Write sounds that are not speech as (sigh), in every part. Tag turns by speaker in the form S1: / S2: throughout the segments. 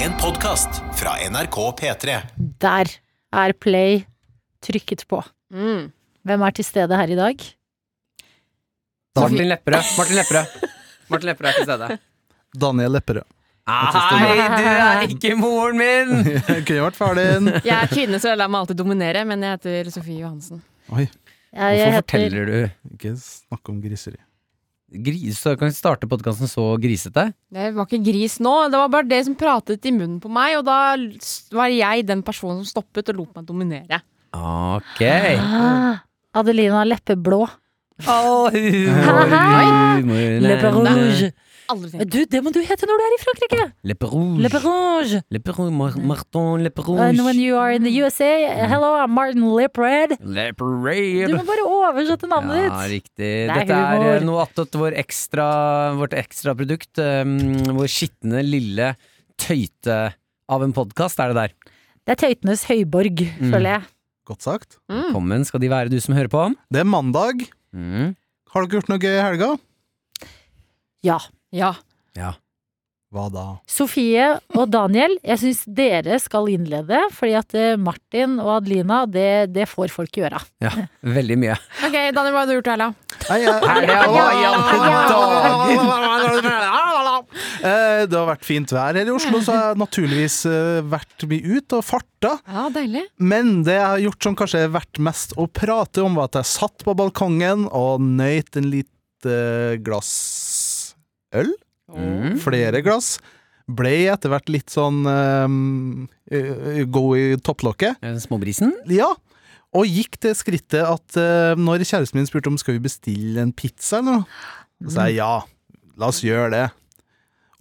S1: En podcast fra NRK P3.
S2: Der er play trykket på.
S3: Mm.
S2: Hvem er til stede her i dag?
S4: Martin Lepperød. Martin Lepperød Martin Lepperød er til stede.
S5: Daniel Lepperød.
S4: Nei, du er ikke moren min!
S5: Jeg (laughs) kunne vært ferdig inn.
S3: Jeg er kvinne, så jeg lar meg alltid dominere, men jeg heter Sofie Johansen.
S5: Oi,
S2: Jeg,
S4: Hvorfor
S2: heter
S4: forteller du
S5: ikke snakk om griseri.
S4: Gris, så Kan vi starte podkasten så grisete?
S3: Det var ikke gris nå, det var bare det som pratet i munnen på meg, og da s- var jeg den personen som stoppet og lot meg dominere.
S4: Ok.
S2: ah, Adelina Leppeblå.
S4: All humor,
S2: Hei.
S4: humor
S2: Leppe rouge.
S3: Aldri tenkt.
S2: Du, det må du hete når du er i Frankrike!
S4: Leppe rouge.
S2: Leppe rouge.
S4: Leppe rouge. Mar- Martin Leppe
S2: Uh, And when
S4: rouge.
S2: you are in the USA, uh, hello, I'm Martin Lipred.
S4: Leppe
S2: Du
S4: red.
S2: må bare oversette navnet
S4: Ja,
S2: ditt.
S4: riktig.
S2: er
S4: Dette er
S2: humor.
S4: eh, noe attåt vår ekstra, vårt ekstra produkt. Um, vår skitne, lille tøyte av en podkast er det der.
S2: Det er tøytenes høyborg,
S4: Mm.
S2: føler jeg.
S5: Godt sagt.
S3: Mm.
S4: Velkommen skal de være, du som hører på.
S5: Det er mandag.
S4: Mm.
S5: Har dere gjort noe gøy i helga?
S2: Ja.
S3: Ja.
S5: Hva da?
S2: Sofie og Daniel, jeg syns dere skal innlede, fordi at eh, Martin og Adelina, det, det får folk gjøre.
S4: Ja, veldig mye.
S3: Ok, Daniel, hva har du gjort i helga?
S5: Nei, jeg- Eh, Det har vært fint vær her i Oslo, så jeg har naturligvis eh, vært mye ut og farta.
S3: Ja, deilig.
S5: Men det jeg har gjort som kanskje er verdt mest å prate om, var at jeg satt på balkongen og nøyt en lite glass øl.
S4: Mm.
S5: flere glass. Ble etter hvert litt sånn ehm, eh, god i topplokket.
S4: Eh, Småbrisen?
S5: Ja. Og gikk det skrittet at eh, når kjæresten min spurte om skal vi bestille en pizza eller noe, så sa jeg ja, la oss gjøre det.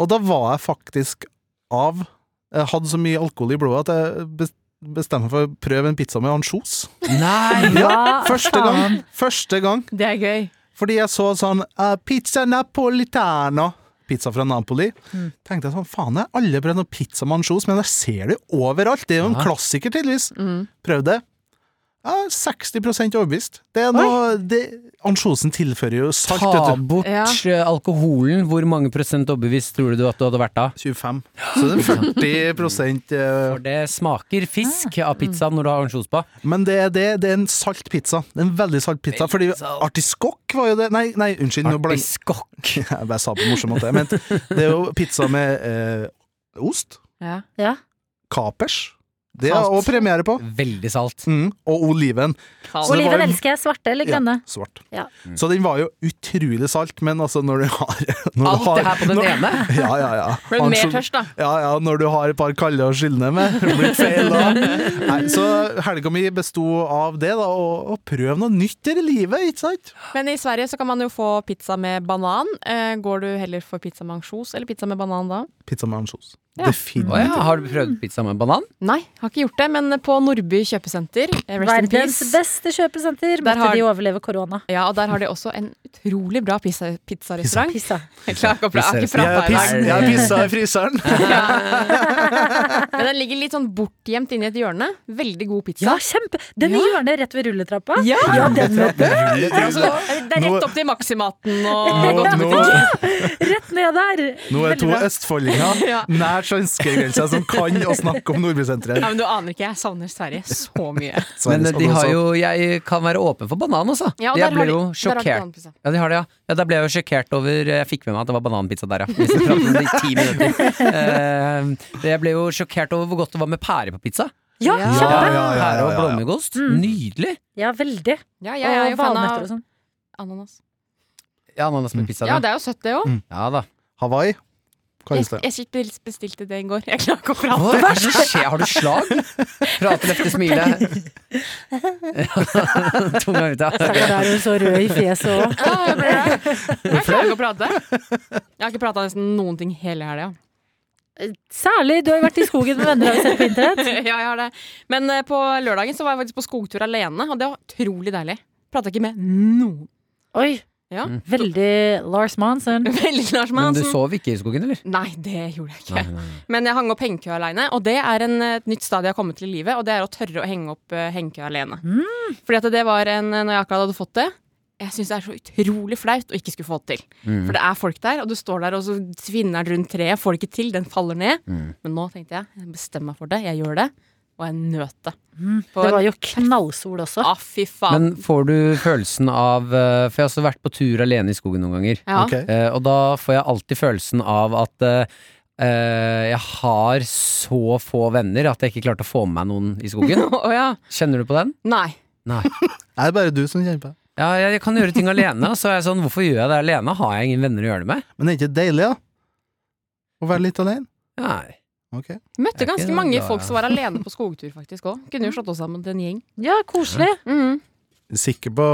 S5: Og da var jeg faktisk av Jeg hadde så mye alkohol i blodet at jeg bes- bestemte meg for å prøve en pizza med ansjos.
S4: Nei!
S5: Ja, første gang. Første gang.
S3: Det er gøy.
S5: Fordi jeg så sånn eh, Pizza napolitano. Pizza fra Napoli.
S4: Mm.
S5: Tenkte jeg sånn, faen, jeg har aldri prøvd noe pizza med ansjos, men jeg ser det jo overalt. Det er jo en
S4: Ja.
S5: klassiker, tydeligvis.
S3: Mm.
S5: Prøv det. Jeg er 60 overbevist. Det er noe det, Ansjosen tilfører jo salt,
S4: Ta
S5: vet du.
S4: bort
S3: Ja.
S4: eh, alkoholen. Hvor mange prosent overbevist tror du at du hadde vært da?
S5: 25. Så det er 40 eh,
S4: For det smaker fisk av pizza når du har ansjos på.
S5: Men det er, det, det er en salt pizza. Det er En veldig salt pizza. Fordi
S4: Veldig salt.
S5: artiskokk var jo det Nei, nei unnskyld. nå blank-
S4: Artiskokk.
S5: (laughs) Jeg bare sa på en morsom måte. Jeg mente det er jo pizza med eh, ost.
S3: Ja.
S2: Ja.
S5: Kapers. Det er
S4: Salt.
S5: også premiere på.
S4: Veldig salt.
S5: Mm, og oliven. Så det var
S2: Oliven
S5: jo-
S2: elsker jeg. Svarte eller grønne?
S5: Ja, svart.
S2: Ja.
S5: Så den var jo utrolig salt, men altså når du har når du
S4: Alt
S5: har,
S4: det her på den
S5: når,
S4: ene.
S5: (laughs) Ja, ja, ja.
S3: Ble du mer
S5: Ansjo-
S3: tørst, da?
S5: Ja, ja, når du har et par kalde og skylne med. det Blir feil da. Nei, så helga mi besto av det, da, å, å prøve noe nytt i livet, ikke sant?
S3: Men i Sverige så kan man jo få pizza med banan. Eh, går du heller for pizza med ansjos eller pizza med banan da?
S5: Pizza med ansjos.
S3: Ja.
S4: Å
S5: Definitivt.
S4: ja, har du prøvd pizza med banan?
S3: Nei, har ikke gjort det, men på Nordby kjøpesenter, eh, rest in
S2: Verdens
S3: peace.
S2: beste kjøpesenter.
S3: Der
S2: Måtte
S3: har-
S2: de overleve korona.
S3: Ja, og der har de også en utrolig bra pizza- pizzarestaurant.
S2: Pizza.
S3: Jeg klarer ikke å pra- jeg har ikke
S5: Jeg
S3: prata i dag.
S5: piss- Jeg pissa i fryseren.
S3: Men den ligger litt sånn bortgjemt inni et hjørne. Veldig god pizza.
S2: Ja, kjempe! Den i hjørnet rett ved rulletrappa.
S3: Ja!
S2: den vet du.
S3: Det er rett opp til Maximaten og
S5: Nå, nå,
S2: Rett ned der.
S5: nå er
S2: Veldig
S5: to
S2: bra.
S5: østfoldinger
S3: Ja.
S5: nær svenskegrensa som kan å snakke om Nordbysenteret.
S3: Ja, men Du aner ikke, jeg savner Sverige så mye.
S4: Men eh,
S5: Sveriges
S4: de har
S5: Adolfsson.
S4: jo Jeg kan være åpen for banan, altså.
S3: Ja, og der
S4: jeg
S3: har
S4: ble
S3: de-
S4: jo
S3: der har de
S4: sjokkert.
S3: bananpizza.
S4: Ja, de har det, ja. ja. Da ble jeg jo sjokkert over eh, Jeg fikk med meg at det var bananpizza der, ja. Hvis jeg prater om det i ti minutter. Eh, jeg ble jo sjokkert over hvor godt det var med pære på pizza.
S2: Ja,
S3: Ja.
S2: kjempe!
S5: ja, ja, ja,
S4: Pære og
S5: ja, ja.
S4: blåmuggost.
S3: Mm.
S4: Nydelig!
S2: Ja, veldig.
S3: Ja, jeg er jo
S2: og
S3: fan
S2: valnøtter og
S3: av
S2: sånn.
S3: ananas.
S4: Ja, ananas med pizza.
S3: Ja,
S4: da.
S3: det er Mm, jo søtt, det òg.
S4: ja da.
S5: Hawaii,
S3: Jeg,
S5: kalles det.
S3: jeg bestilte- bestilte det i går. Jeg klarer ikke å
S4: Hva
S3: prate.
S4: er det som skjer? Har du slag? Prate løfte
S3: (laughs)
S4: smilet. Tunga ut, ja.
S2: Stakkar, der er hun så rød i fjeset òg.
S3: Ja, jeg ble det. Jeg klarer ikke å prate. Jeg har ikke prata nesten noen ting hele helga.
S2: Særlig, du har jo vært i skogen med venner, har vi sett på internett.
S3: (laughs) Ja, jeg har det. Men eh, på lørdagen så var jeg faktisk på skogtur alene, og det var utrolig deilig. Prata ikke med noen.
S2: Oi,
S3: Ja.
S2: veldig Lars Monsen.
S3: (laughs) Veldig Lars
S4: Men du
S3: Monsen.
S4: sov ikke i skogen, eller?
S3: Nei, det gjorde jeg
S4: Nei,
S3: ikke.
S4: nei,
S3: Men jeg hang opp hengekøye aleine, og det er en, eh, et nytt stadie jeg har kommet til
S4: Mm.
S3: i livet. Og det er å tørre å henge opp eh, hengekøye alene. Fordi at det var en eh, Når jeg akkurat hadde fått det, jeg syns det er så utrolig flaut å ikke skulle få det til.
S4: Mm.
S3: For det er folk der, og du står der og så tvinner den rundt treet, får det ikke til, den faller ned.
S4: Mm.
S3: Men nå tenkte jeg, jeg bestemmer meg for det, jeg gjør det, og jeg nøt det. På
S4: Mm.
S2: Det var
S3: en,
S2: jo knallsol også.
S3: ah, fy faen.
S4: Men får du følelsen av eh, For jeg har også vært på tur alene i skogen noen ganger.
S3: ja.
S5: Ok.
S4: Eh, og da får jeg alltid følelsen av at eh, eh, jeg har så få venner at jeg ikke klarte å få med meg noen i
S3: (laughs)
S4: skogen.
S3: (laughs) Å ja.
S4: Kjenner du på den?
S3: Nei.
S4: Nei.
S5: Er det bare du som kjenner på det?
S4: Ja, jeg, jeg kan gjøre ting alene. Og så er jeg sånn, hvorfor gjør jeg det alene? Har jeg ingen venner å gjøre det med?
S5: Men er det ikke deilig, da? Å være litt alene?
S4: Nei.
S5: Ok.
S3: Møtte
S4: Jeg er ikke
S3: ganske mange
S4: glad,
S3: folk
S4: ja.
S3: som var alene på skogtur, faktisk òg. Kunne jo slått oss sammen til en gjeng.
S2: Ja, koselig.
S4: Mm.
S3: Mhm.
S5: Sikker på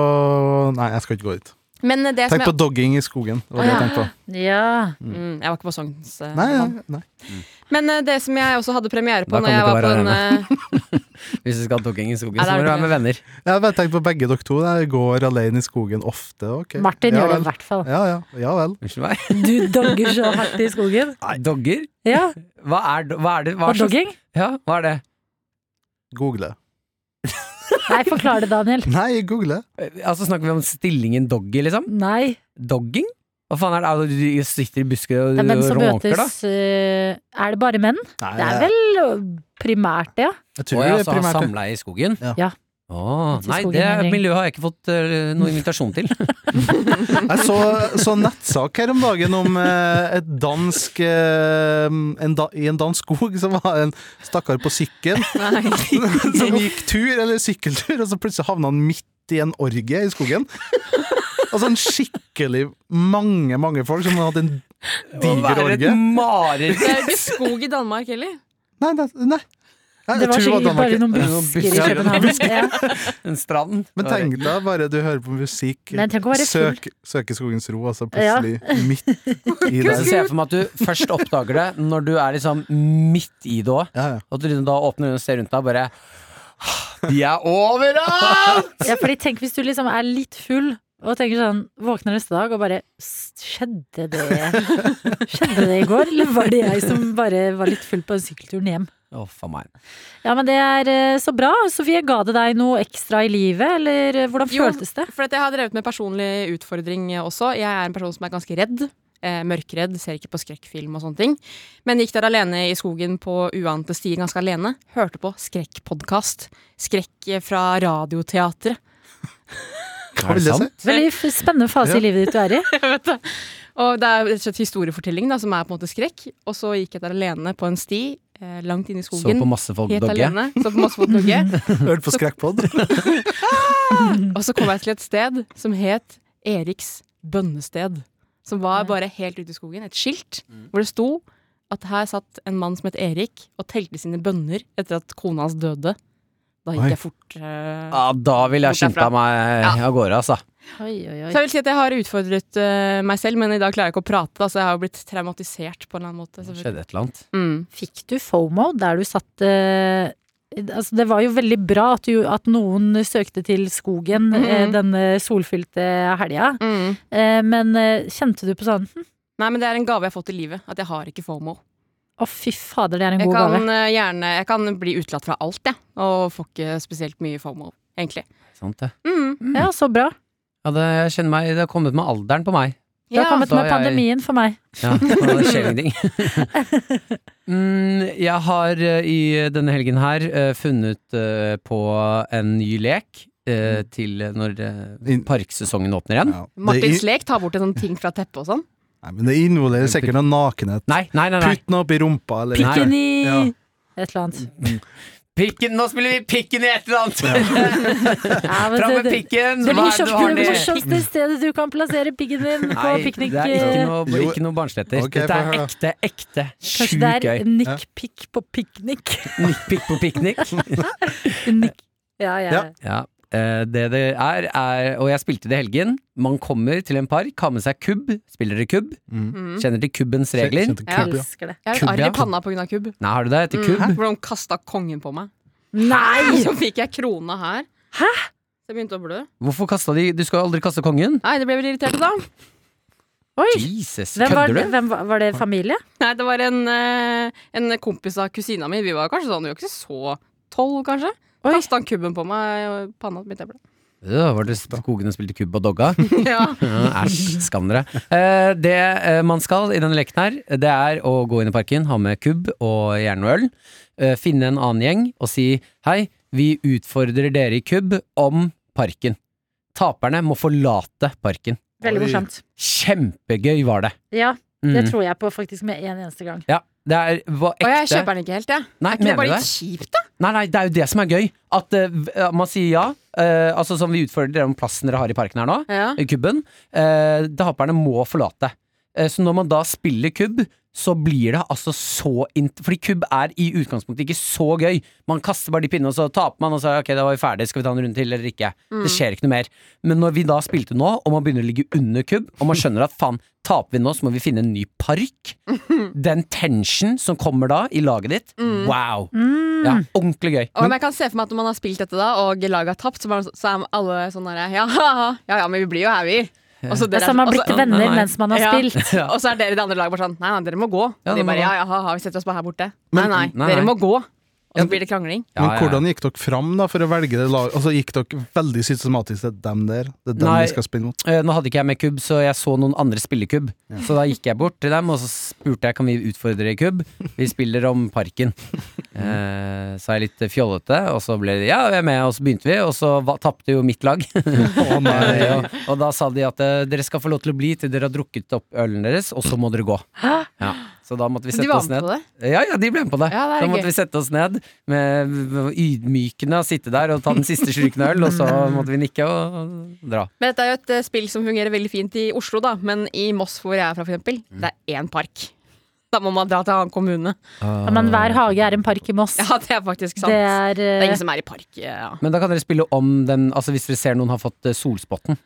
S5: Nei, jeg skal ikke gå dit.
S3: Men det som
S5: Tenk
S3: jeg
S5: på dogging i skogen. Det var det jeg tenkte på.
S2: Ja.
S3: mm, Jeg var ikke på Sogns. eh,
S5: Nei,
S3: mann.
S5: nei, nei.
S3: Men eh, det som jeg også hadde premiere på
S4: Da
S3: når
S4: kan
S3: jeg
S4: du
S3: var
S4: ikke
S3: på
S4: være
S3: en eh, (laughs)
S4: Hvis du skal ha dogging i skogen,
S3: Nei,
S4: så
S3: det er
S4: må du
S3: det
S4: være med venner.
S5: Jeg har bare tenkt på begge dere to. Jeg går alene i skogen ofte. ok.
S2: Martin
S5: ja,
S2: gjør det i
S5: vel.
S2: hvert fall.
S5: Ja, ja. Ja vel.
S4: Unnskyld meg.
S2: Du dogger så hardt i skogen.
S4: Dogger?
S2: Ja,
S4: Hva er, do- hva er det?
S2: Og
S4: Hva er slags-
S2: dogging?
S4: Ja, hva er det?
S5: Google.
S2: Nei, forklar det, Daniel.
S5: Nei, google.
S4: Eh, Altså Snakker vi om stillingen doggy, liksom?
S2: Nei.
S4: Dogging? Hva faen er det? Er det? Du sitter i busker og
S2: Det er menn som
S4: råker, da?
S2: møtes eh, Er det bare menn?
S5: Nei,
S2: Det er vel eh, primært det, ja.
S5: Jeg
S4: Å
S5: tror
S4: ja,
S5: det
S4: så
S5: er
S4: har
S5: primært det.
S4: samleie i skogen?
S5: Ja.
S2: Ja.
S4: Å,
S2: Ute i
S4: nei,
S2: skogen
S4: det
S2: en gjeng.
S4: miljøet har jeg ikke fått eh, noen invitasjon
S5: (laughs)
S4: til.
S5: Jeg så, så nettsak her om dagen om eh, et dansk eh, en da, I en dansk skog så var det en stakkar på sykkel (laughs)
S4: (laughs)
S5: som gikk tur, eller sykkeltur, og så plutselig havna han midt i en orgie i skogen. Altså en skikkelig mange, mange folk som hadde en diger orgie.
S4: mareritt!
S3: Det er jo ikke skog i Danmark heller.
S5: Nei, nei. nei. Nei,
S2: Det
S5: jeg
S2: var
S5: tror
S2: sikkert
S5: Danmark.
S2: bare noen
S4: Det er noen
S2: busker i
S4: busker, ja.
S2: København. Ja.
S4: Den stranden.
S5: Men tenk deg bare du hører på musikk,
S2: Men tenk å være full.
S5: søk, søke skogens ro, altså plutselig midt
S2: (laughs)
S5: i
S4: Så ser
S5: der.
S4: jeg for meg at du først oppdager det når du er liksom midt i det òg.
S5: Ja, ja.
S4: At du liksom da åpner øynene og ser rundt deg og bare «Ah, De er
S5: (laughs)
S4: overalt!
S2: Ja, fordi tenk hvis du liksom er litt full og tenker sånn, våkner neste dag og bare "S- Skjedde det Skjedde det i går, eller var det jeg som bare var litt full på den sykkelturen hjem?
S4: Å, faen meg.
S2: Ja, men det er eh, så bra. Sofie, ga det deg noe ekstra i livet, eller eh, hvordan
S3: Jo.
S2: føltes det?
S3: For at jeg har drevet med personlig utfordring eh, også. Jeg er en person som er ganske redd. Eh, mørkredd, ser ikke på skrekkfilm og sånne ting. Men gikk der alene i skogen på uante stier ganske alene. Hørte på skrekkpodkast. Skrekk eh, fra radioteatret.
S5: Hva vil det si?
S2: Veldig f- spennende fase i livet ditt du er i.
S3: Jeg vet det. Og det er rett og slett historiefortelling da, som er på en måte skrekk. Og så gikk jeg der alene på en sti eh, langt inn i
S4: Så
S3: skogen.
S4: på masse folk
S3: Helt
S4: dogge.
S3: alene. Så på masse fotogge.
S4: (laughs)
S5: Hørte på skrekkpod?
S3: Og så kom jeg til et sted som het Eriks bønnested. Som var bare helt ute i skogen. Et skilt hvor det sto at her satt en mann som het Erik og telte sine bønner etter at kona hans døde. Da gikk
S5: Oi.
S3: jeg fort. eh,
S4: Ja, da ville jeg
S3: Bort derfra.
S4: skynda meg av gårde, altså.
S2: Oi, oi,
S3: Så
S2: oi.
S3: jeg vil si at jeg har utfordret eh, meg selv, men i dag klarer jeg ikke å prate. Da, så jeg har jo blitt traumatisert på en eller annen måte.
S4: Det
S3: selvfølgelig.
S4: skjedde et eller annet.
S3: Mm.
S2: Fikk du FOMO der du satt eh, Altså, det var jo veldig bra at, du, at noen søkte til skogen eh,
S3: Mhm.
S2: denne solfylte helga.
S3: Mm.
S2: Eh, men eh, kjente du på sånn hm,
S3: Nei, men det er en gave jeg har fått i livet. At jeg har ikke fomo.
S2: Å, fy fader, det er en
S3: Jeg
S2: god
S3: kan,
S2: gave.
S3: eh, gjerne, jeg kan bli utelatt fra alt, jeg. Og får ikke spesielt mye fomo, egentlig.
S4: Sant, det.
S3: Mm.
S2: Ja, så bra.
S4: Ja, det, jeg kjenner meg, det har kommet med alderen på meg.
S2: Det har kommet
S4: da
S2: med
S4: er jeg-
S2: pandemien for meg. (laughs)
S4: Ja, det skjer ingenting. (laughs) mm, jeg har eh, i denne helgen her eh, funnet eh, på en ny lek eh,
S5: Mm.
S4: til når eh,
S5: In-
S4: parksesongen åpner igjen. (laughs)
S3: Martins lek tar bort en sånn ting fra teppet og sånn.
S5: Nei, men det involverer sikkert noe nakenhet.
S4: Nei, nei, nei. nei.
S5: Putt den opp i rumpa, eller
S4: Nei.
S2: Pikken i
S5: Ja.
S2: et eller annet.
S4: Mm. Pikken, nå spiller vi pikken i et eller annet!
S2: Ja, men
S4: (laughs) Fram
S2: det-
S4: med pikken!
S2: Det
S4: Hva
S2: blir
S4: er det du har
S2: det
S4: ned?
S2: morsomste stedet du kan plassere piggen din sånn på
S4: Mm. Nei,
S2: piknik.
S4: det er ikke
S2: eh,
S4: noe,
S5: Jo.
S4: ikke noe barnsletter.
S5: Ok,
S4: Dette
S5: få
S4: er
S5: høre.
S4: ekte, ekte
S2: Kanskje
S4: sjukt
S2: det
S4: gøy.
S2: er nikkpikk på piknik.
S4: Nikkpikk på piknik.
S2: Nikk. Ja, ja.
S5: Ja.
S4: Ja, eh, det det er, er Og jeg spilte det i helgen. Man kommer til en park, har med seg kubb. Spiller dere kubb?
S2: Mm.
S4: Kjenner til kubbens regler?
S5: Kjente
S3: Ja.
S5: kubb, ja.
S2: Elsker det.
S3: Jeg har
S4: Kubb,
S3: et arr
S4: ja.
S3: i panna pga. kubb.
S4: Nei, har du det? Etter kubb?
S3: Mm. Hvordan kasta kongen på meg.
S2: Nei!
S3: Så fikk jeg krona her.
S2: Hæ?
S3: Så jeg begynte å blø.
S4: Hvorfor kasta de Du skal jo aldri kaste kongen.
S3: Nei, det ble jeg vel irritert da.
S2: Oi!
S4: Jesus,
S2: Hvem var,
S4: kødder du?
S2: hvem var, var det familie?
S3: Nei, det var en, eh, en kompis av kusina mi. Vi var kanskje sånn, vi var ikke så tolv, kanskje.
S2: Oi.
S3: Kasta han kubben på meg, eh, og panna begynte å blø.
S4: Øh, var det skogen og spilte kubb og dogga?
S3: ja.
S4: Ja, Æsj, skam dere. Eh, det eh, man skal i denne leken her, det er å gå inn i parken, ha med kubb og gjerne noe øl. eh, finne en annen gjeng og si hei, vi utfordrer dere i kubb om parken. Taperne må forlate parken.
S2: Veldig
S5: Oi.
S2: morsomt.
S4: Kjempegøy var det.
S2: Ja,
S4: Mm.
S2: det tror jeg på faktisk med en eneste gang.
S4: ja, det er var
S3: Og
S4: ekte.
S3: jeg kjøper den ikke helt, jeg.
S4: Nei,
S3: Er ikke det
S4: mener du
S3: bare
S4: det?
S3: litt kjipt, da?
S4: Nei, nei, det er jo det som er gøy. At eh, v- eh, man sier ja. eh, altså som vi utfordrer dere om plassen dere har i parken her nå.
S3: Ja.
S4: eh, Kubben. Eh, taperne må forlate. Eh, så når man da spiller kubb, så blir det altså så int... Fordi kubb er i utgangspunktet ikke så gøy. Man kaster bare de pinnene, og så taper man, og så ok, da var vi ferdig, skal vi ta en runde til eller ikke?
S3: Mm.
S4: Det skjer ikke noe mer. Men når vi da spilte nå, og man begynner å ligge under kubb, og man skjønner at faen, taper vi nå, så må vi finne en ny park.
S3: (laughs)
S4: Den tension som kommer da i laget ditt, wow! Ja, ordentlig gøy.
S3: Mm. Og men jeg kan se for meg at når man har spilt dette da, og laget har tapt, så, bare, så er alle sånn der ja, haha, ja, ja, men vi blir jo her, vi. Og så
S2: Det er
S3: dere
S2: som å ha
S3: og så-
S2: blitt
S4: altså, nei,
S2: venner
S4: nei.
S2: mens man har
S3: (laughs) Ja.
S2: spilt.
S4: Ja.
S3: Og så er dere i det andre laget bare sånn Nei, nei, dere må gå.
S4: Ja,
S3: de
S4: det må
S3: bare,
S4: gå.
S3: ja, ja, ha, ha, vi setter oss bare her borte. nei,
S4: Men-
S3: nei,
S4: nei,
S3: dere
S4: nei.
S3: må gå. Og
S4: Ja,
S3: så blir det krangling.
S4: Ja,
S5: Men
S4: ja, ja.
S5: hvordan gikk dere fram da for å velge det laget? Altså, gikk dere veldig systematisk til dem der? Det er dem
S4: Nei.
S5: vi skal spille mot.
S4: Eh, Nå hadde ikke jeg med kubb, så jeg så noen andre spille kubb. Så da gikk jeg bort til dem, og så spurte jeg kan vi utfordre i kubb. Vi spiller om
S5: (laughs)
S4: parken. Eh, sa jeg litt fjollete, og så ble de ja, vi er med, og så begynte vi, og så va- tapte jo mitt lag.
S5: (laughs)
S4: (laughs)
S5: Å nei.
S4: Eh, og, og da sa de at eh, dere skal få lov til å bli til dere har drukket opp ølen deres, og så må dere gå. Ja. Så da måtte vi
S3: De
S4: sette
S3: var
S4: oss
S3: med
S4: ned.
S3: på det.
S4: Ja, ja, de ble med på det.
S3: Ja, det er
S4: da måtte
S3: gøy.
S4: vi sette oss ned med med ydmykende og sitte der og ta den siste slurken av øl, og så måtte vi nikke og og dra.
S3: Men dette er jo et eh, spill som fungerer veldig fint i Oslo, da. Men i Moss, hvor jeg er fra, for eksempel, det er én park. Da må man dra til en annen kommune.
S2: Ja, men hver hage er en park i Moss.
S3: (laughs) Ja, det er faktisk sant.
S2: det er
S3: Det er
S2: eh,
S3: ingen som er i park. Ja.
S4: Men da kan dere spille om den Altså hvis dere ser noen har fått eh, solspotten.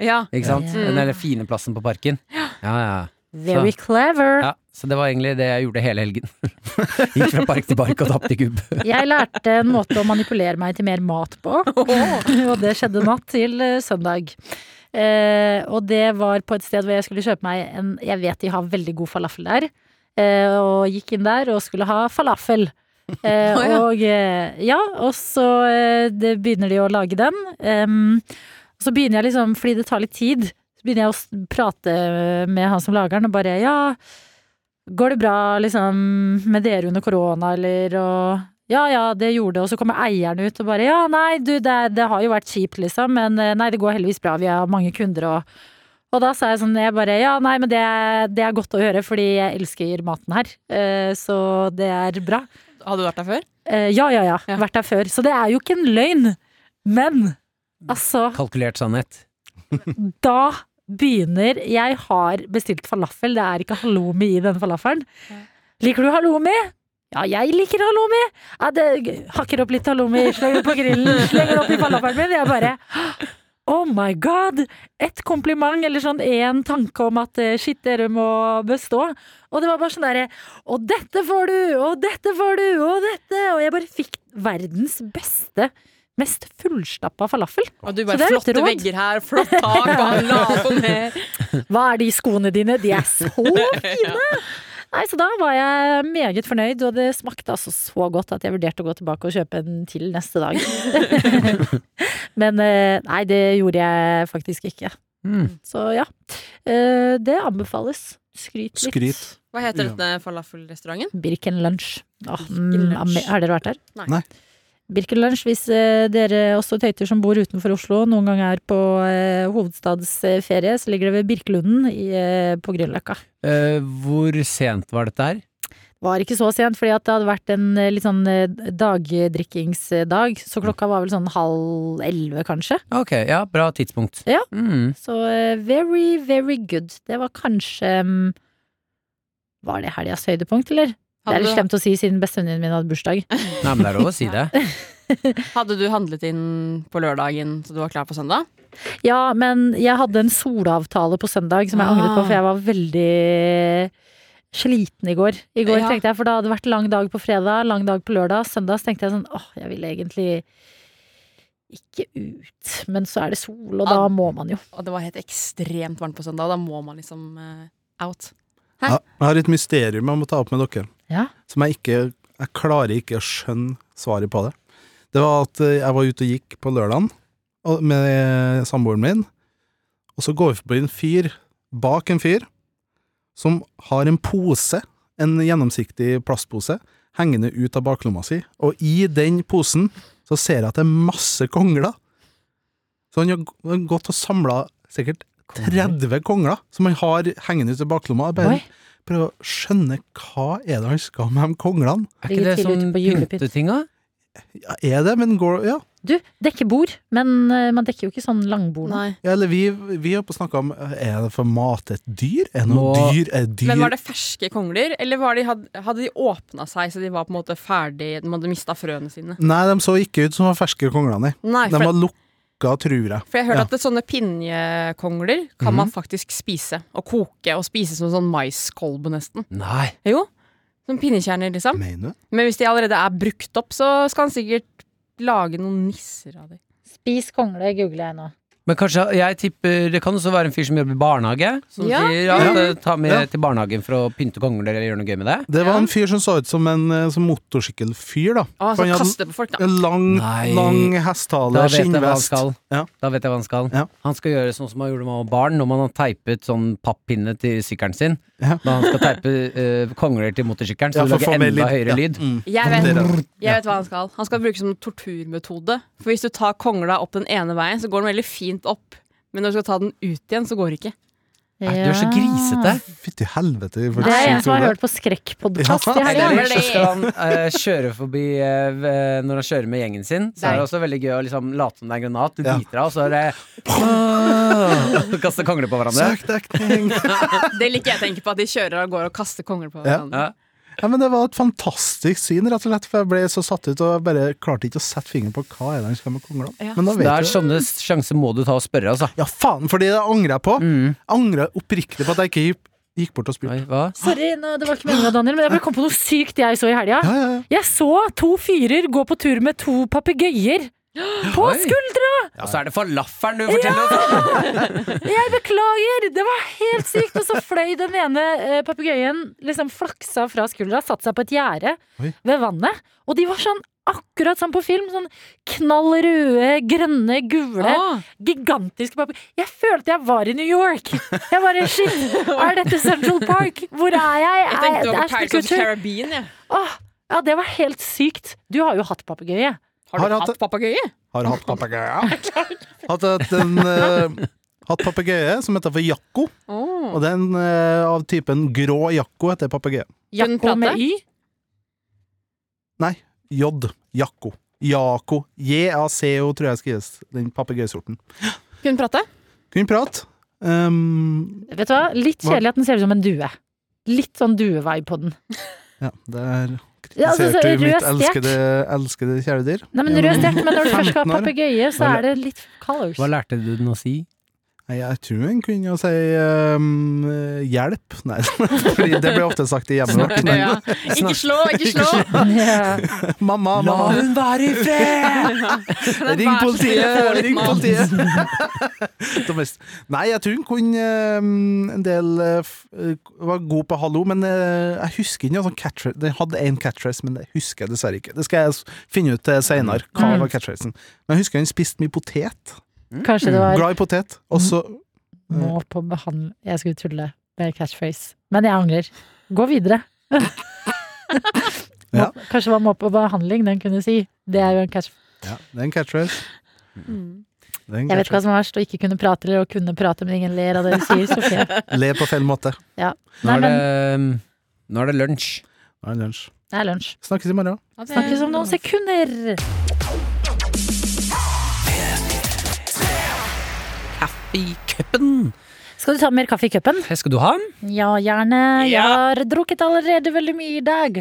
S3: ja.
S4: Ikke sant?
S2: Ja.
S4: Den der fine plassen på parken. Ja, ja.
S2: very clever.
S4: ja Så det var egentlig det jeg gjorde hele helgen. (laughs) Gikk fra park til park og tapte i
S2: (laughs)
S4: kubb.
S2: Jeg lærte en måte å manipulere meg til mer mat
S3: (laughs)
S2: på, og det skjedde natt til eh, søndag. Eh, og det var på et sted hvor jeg skulle kjøpe meg en Jeg vet de har veldig god falafel der, eh, og gikk inn der og skulle ha
S3: (laughs)
S2: falafel. Eh,
S3: Å, ja.
S2: Og eh, ja, og så eh, det begynner de å lage den. Em, og så begynner jeg liksom, fordi det tar litt tid, så begynner jeg å s- prate med han som lager den, og bare ja, går det bra liksom med dere under korona, eller og ja, ja, det gjorde det, og så kommer eieren ut og bare ja, nei, du, det, er- det har jo vært kjipt, liksom, men eh, nei, det går heldigvis bra, vi har mange kunder og og da sa jeg sånn, jeg bare ja, nei, men det, er- det er godt å høre, fordi jeg elsker maten her, eh, så det er bra.
S3: Hadde du vært der før?
S2: Eh, ja, ja, ja,
S3: Ja.
S2: vært der før. Så det er jo ikke en løgn. Men altså,
S4: Kalkulert sannhet.
S2: da begynner Jeg har bestilt falafel, det er ikke halloumi i denne falafelen. Liker du halloumi? Ja, jeg liker halloumi! Ja, det hakker opp litt halloumi, slenger det på grillen, slenger det opp i falafelen min. Jeg bare Oh my god! Et kompliment, eller sånn én tanke om at eh, shit, dere må bestå. Og det var bare sånn derre Og dette får du! Og dette får du! Og dette! Og jeg bare fikk verdens beste, mest fullstappa falafel.
S3: Og
S2: Så
S3: du
S2: det
S3: bare
S2: er et
S3: flotte
S2: råd.
S3: vegger her, flott
S2: (laughs)
S3: tak, bare lave ned.
S2: Hva er de skoene dine? De er så fine! Nei, så da var jeg meget fornøyd, og det smakte altså så godt at jeg vurderte å gå tilbake og kjøpe en til neste
S3: (laughs)
S2: dag. Men eh, nei, det gjorde jeg faktisk ikke.
S4: Mm.
S2: Så ja. Eh, Det anbefales. Skryt litt.
S5: Skryt.
S3: Hva heter denne falafelrestauranten?
S2: Birken lunsj. Åh,
S3: Birken
S2: mm,
S3: Lunsj.
S2: har dere vært der?
S3: Nei.
S5: Nei.
S2: Birken lunsj, hvis eh, dere også tøyter som bor utenfor Oslo, noen gang er på eh, hovedstadsferie, så ligger det ved Birkelunden i, eh, på Grünerløkka.
S4: Eh, hvor sent var dette her?
S2: Var ikke så sent, fordi at det hadde vært en eh, litt sånn eh, dagdrikkingsdag. Så klokka var vel sånn halv elleve, kanskje.
S4: Ok, ja, bra tidspunkt.
S2: Ja.
S4: Mm.
S2: Så eh, very, very good. Det var kanskje mm, Var det helgas høydepunkt, eller? Det er litt
S3: Hadde,
S2: slemt å si siden bestevenninnen min hadde bursdag.
S4: Nei, men det er lov å si
S2: (laughs)
S4: det.
S3: du- hadde du handlet inn på lørdagen så du var klar på søndag?
S2: Ja, men jeg hadde en solavtale på søndag som jeg angret på,
S3: Ah.
S2: for jeg var veldig sliten i går. I går
S3: Ja.
S2: tenkte jeg, for da hadde det vært lang dag på fredag, lang dag på lørdag. Søndag så tenkte jeg sånn, åh, jeg ville egentlig ikke ut. Men så er det sol, og da
S3: Ah.
S2: må man jo.
S3: Og det var helt ekstremt varmt på søndag, og da må man liksom eh, out. Hæ?
S5: Jeg jeg har et mysterium jeg må ta opp med dere,
S2: Ja.
S5: som jeg ikke Jeg klarer ikke å skjønne svaret på det. Det var at eh, jeg var ute og gikk på lørdagen, og- med samboeren min, og så går vi forbi en fyr, bak en fyr, som har en pose, en gjennomsiktig plastpose, hengende ut av baklomma si, og i den posen så ser jeg at det er masse kongler. Så han har g- han har gått og samla sikkert 30 kongler som han har hengende ut i baklomma. Jeg Bare
S2: Oi.
S5: prøver å skjønne hva er det han skal med de konglene.
S4: Er
S2: Ligger
S4: ikke det
S2: tidlig
S4: sånn
S2: ute på julepynt.
S4: pyntetinga?
S5: Ja, er det, men går Ja.
S2: Du, dekker bord, men eh, man dekker jo ikke sånn langbord. nå.
S3: Nei.
S5: Ja, Eller vi, vi har på snakka om Er det for mat et dyr? Er det noe
S4: Nå-
S5: dyr? Er det dyr?
S3: Men var det ferske kongler, eller var de, had- hadde de åpna seg så de var på en måte ferdig De hadde mista frøene sine?
S5: Nei, de så ikke ut som var ferske konglene.
S3: Nei,
S5: De
S3: for,
S5: var lukka, tror jeg.
S3: for jeg hørte
S5: Ja.
S3: at det, sånne pinjekongler kan man faktisk spise. Og koke og spise som sånn maiskolbe, nesten.
S4: Nei.
S3: Jo, som pinnekjerner, liksom.
S5: Mener du?
S3: Men hvis de allerede er brukt opp, så skal han sikkert lage noen nisser av dem.
S2: Spis kongle, googler jeg nå.
S4: Men kanskje jeg tipper Det kan også være en fyr som jobber i barnehage. Som
S3: Ja.
S4: sier ja,
S5: Ja.
S4: ta med
S5: Ja.
S4: til barnehagen for å pynte kongler eller gjøre noe gøy med det.
S5: Det
S3: Ja.
S5: var en fyr som så ut som en eh, som motorsykkelfyr, da.
S3: Å,
S5: For
S3: så
S5: han hadde
S3: kaste på folk, da.
S5: en lang,
S4: Nei.
S5: lang
S4: Da
S5: hestehale,
S4: vet jeg hva han
S5: skinnvest.
S4: skal.
S5: Ja.
S4: Da vet jeg hva Han skal
S5: Ja.
S4: Han skal gjøre sånn som han gjorde med barn når man har teipet sånn pappinne til sykkelen sin.
S5: Ja.
S4: Da han skal teipe eh, kongler til motorsykkelen, så
S5: Ja,
S4: det
S5: for å
S4: lager
S5: få mer
S4: enda
S5: lyd.
S4: høyere
S5: Ja.
S4: lyd.
S5: Mm.
S3: Jeg vet,
S5: Det er det.
S3: jeg vet hva han skal. Han skal bruke som torturmetode. For hvis du tar kongla opp den ene veien, så går den veldig fint opp. Men når du skal ta den ut igjen, så går det ikke.
S4: Nei, Du er så grisete.
S5: Fytti helvete. for
S2: Det er en
S5: sykt
S2: som har
S5: hode.
S2: hørt på skrekkpodkast i
S5: Ja.
S4: Nei,
S3: det
S2: helga.
S3: er
S4: Eller så skal han eh, kjøre forbi eh, ved- Når han kjører med gjengen sin, så er det
S3: Nei.
S4: også veldig gøy å liksom late som det er en granat. Du
S5: Ja.
S4: biter av, og så er (laughs)
S5: (laughs)
S4: det Kaster kongler på hverandre.
S5: Søk dekning!
S3: Det liker jeg å tenke på, at de kjører og går og kaster kongler på
S5: Ja.
S3: hverandre.
S4: Ja.
S5: Ja, men det var et fantastisk syn, rett og slett, for jeg ble så satt ut og jeg bare klarte ikke å sette fingeren på hva er det han skal med konglene.
S3: Ja.
S5: Men da
S4: Det
S5: vet
S4: er
S5: du
S4: sånne sjanser må du ta og spørre, altså.
S5: Ja, faen, fordi det angrer jeg på.
S4: Mm.
S5: Jeg angrer oppriktig på at jeg ikke gikk- gikk bort og spurte.
S4: Oi, hva?
S2: Sorry, nå, det var ikke meningen, Daniel, men jeg bare kom på noe sykt jeg så i helga.
S5: Ja, ja,
S2: Jeg så to fyrer gå på tur med to papegøyer på
S4: Oi.
S2: skuldra!
S4: Og så er det falafelen du forteller oss!
S2: Jeg beklager! Det var helt sykt! Og så fløy den ene eh, papegøyen liksom flaksa fra skuldra, satte seg på et gjerde
S5: Oi.
S2: ved vannet. Og de var sånn akkurat sånn på film. Sånn knall røde, grønne, gule.
S3: Å,
S2: Gigantiske papegøyer. Jeg følte jeg var i New York! Jeg bare Shit! Er dette Central Park? Hvor er jeg?
S3: jeg tenkte
S2: Er-
S3: det
S2: er
S3: var på Pirates of the
S2: Snøkutter?
S3: Caribbean, jeg.
S2: Åh, ja, det var helt sykt. Du har jo hatt papegøye.
S3: Har
S5: Har
S3: du
S5: hatt
S3: hatt papegøye?
S5: Har hatt papegøye. Hatt, et- en, eh, hatt papegøye som heter for Jakko,
S3: Oh.
S5: og den eh, av typen grå Jakko heter papegøye.
S3: Kunne den
S2: Jakko med
S3: prate?
S2: Y.
S5: Nei, J. Jakko. Jako. J-a-c-o, tror jeg skrives. Den papegøyesorten.
S3: Kunne den prate?
S5: Kunne prate. Um,
S2: Vet du hva? Litt
S5: Hva?
S2: kjedelig at den ser ut som en due. Litt sånn duevibe på den.
S5: ja, der
S2: Ja, altså, så
S5: kritiserte du mitt
S2: rød stjert.
S5: elskede, elskede kjæledyr.
S2: Nei, men rød stjert, men når du først skal
S5: 15
S2: ha
S5: år.
S2: papegøye, så
S5: Hva
S2: er det litt colors. (laughs)
S4: Hva lærte du den å si?
S5: Nei, Jeg tror hun kunne jo si um, hjelp. Nei, (laughs) fordi det blir ofte sagt i hjemmet vårt. men-
S3: Ja. Ikke slå, ikke slå! (laughs)
S2: Ja.
S5: Mamma, mamma,
S4: hun være i fred!
S3: Kan jeg
S5: Ring
S3: være så snill å få
S5: politiet!
S3: litt
S5: Ring
S3: mat?
S5: politiet! De mest- Nei, jeg tror hun kunne eh, en del eh, f- eh, Var god på hallo, men eh, jeg husker ikke noe sånn catchphrase. Den hadde én catchphrase, men det husker jeg dessverre ikke. Det skal jeg s- finne ut eh, senere. Hva
S2: Mm.
S5: var catchphrasen? Men jeg husker hun spiste mye potet.
S2: Kanskje det var
S5: Glad i potet. Og så
S2: Mm. må på behandling Jeg skulle tulle med catchphrase, men jeg angrer. Gå videre. må,
S5: Ja.
S2: kanskje det var må på behandling den kunne si. Det er jo en catch...
S5: Ja, det er en catchphrase.
S3: Mm.
S5: Det er en
S2: Jeg vet ikke hva
S5: catchphrase.
S2: som er verst, å ikke kunne prate eller å kunne prate, men ingen ler av det du sier, Sofie.
S5: (laughs) Le på feil måte.
S4: Nå
S2: Nei,
S4: er det,
S2: men
S4: ehm, nå er det lunsj.
S5: Nå er det lunsj.
S2: det er lunsj.
S5: Snakkes i morgen.
S2: Snakkes om noen sekunder.
S4: Kaffecupen.
S2: Skal du ta mer kaffe i cupen?
S4: Skal du ha den?
S2: Ja, gjerne. Jeg
S4: Ja.
S2: har drukket allerede veldig mye i dag.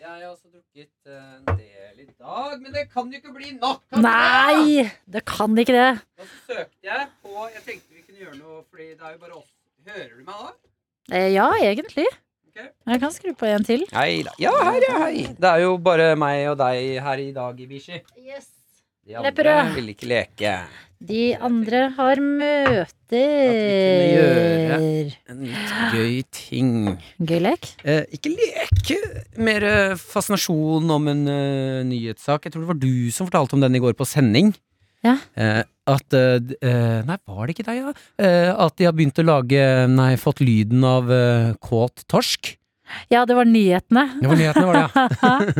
S4: Jeg har også drukket eh, en del i dag, men det kan jo ikke bli nok.
S2: Nei, det kan ikke det.
S4: Og så søkte jeg på Jeg tenkte vi kunne gjøre noe, fordi det er jo bare oss. Hører du meg nå?
S2: Eh, Ja, egentlig.
S4: Ok.
S2: Jeg kan skru på en til.
S4: Hei da. Ja, hei, ja, hei. Det er jo bare meg og deg her i dag, Ibishi. De andre
S2: Lepperød.
S4: vil ikke leke.
S2: De andre har
S4: kunne
S2: møter.
S4: En litt gøy ting.
S2: Gøy lek.
S4: Eh, ikke leke, mer eh, fascinasjon om en eh, nyhetssak. Jeg tror det var du som fortalte om den i går på sending.
S2: Ja.
S4: Eh, at eh, d- eh, Nei, var det ikke deg, da? Eh, at de har begynt å lage Nei, fått lyden av eh, kåt torsk.
S2: Ja, det var nyhetene.
S4: Det var nyhetene, var det,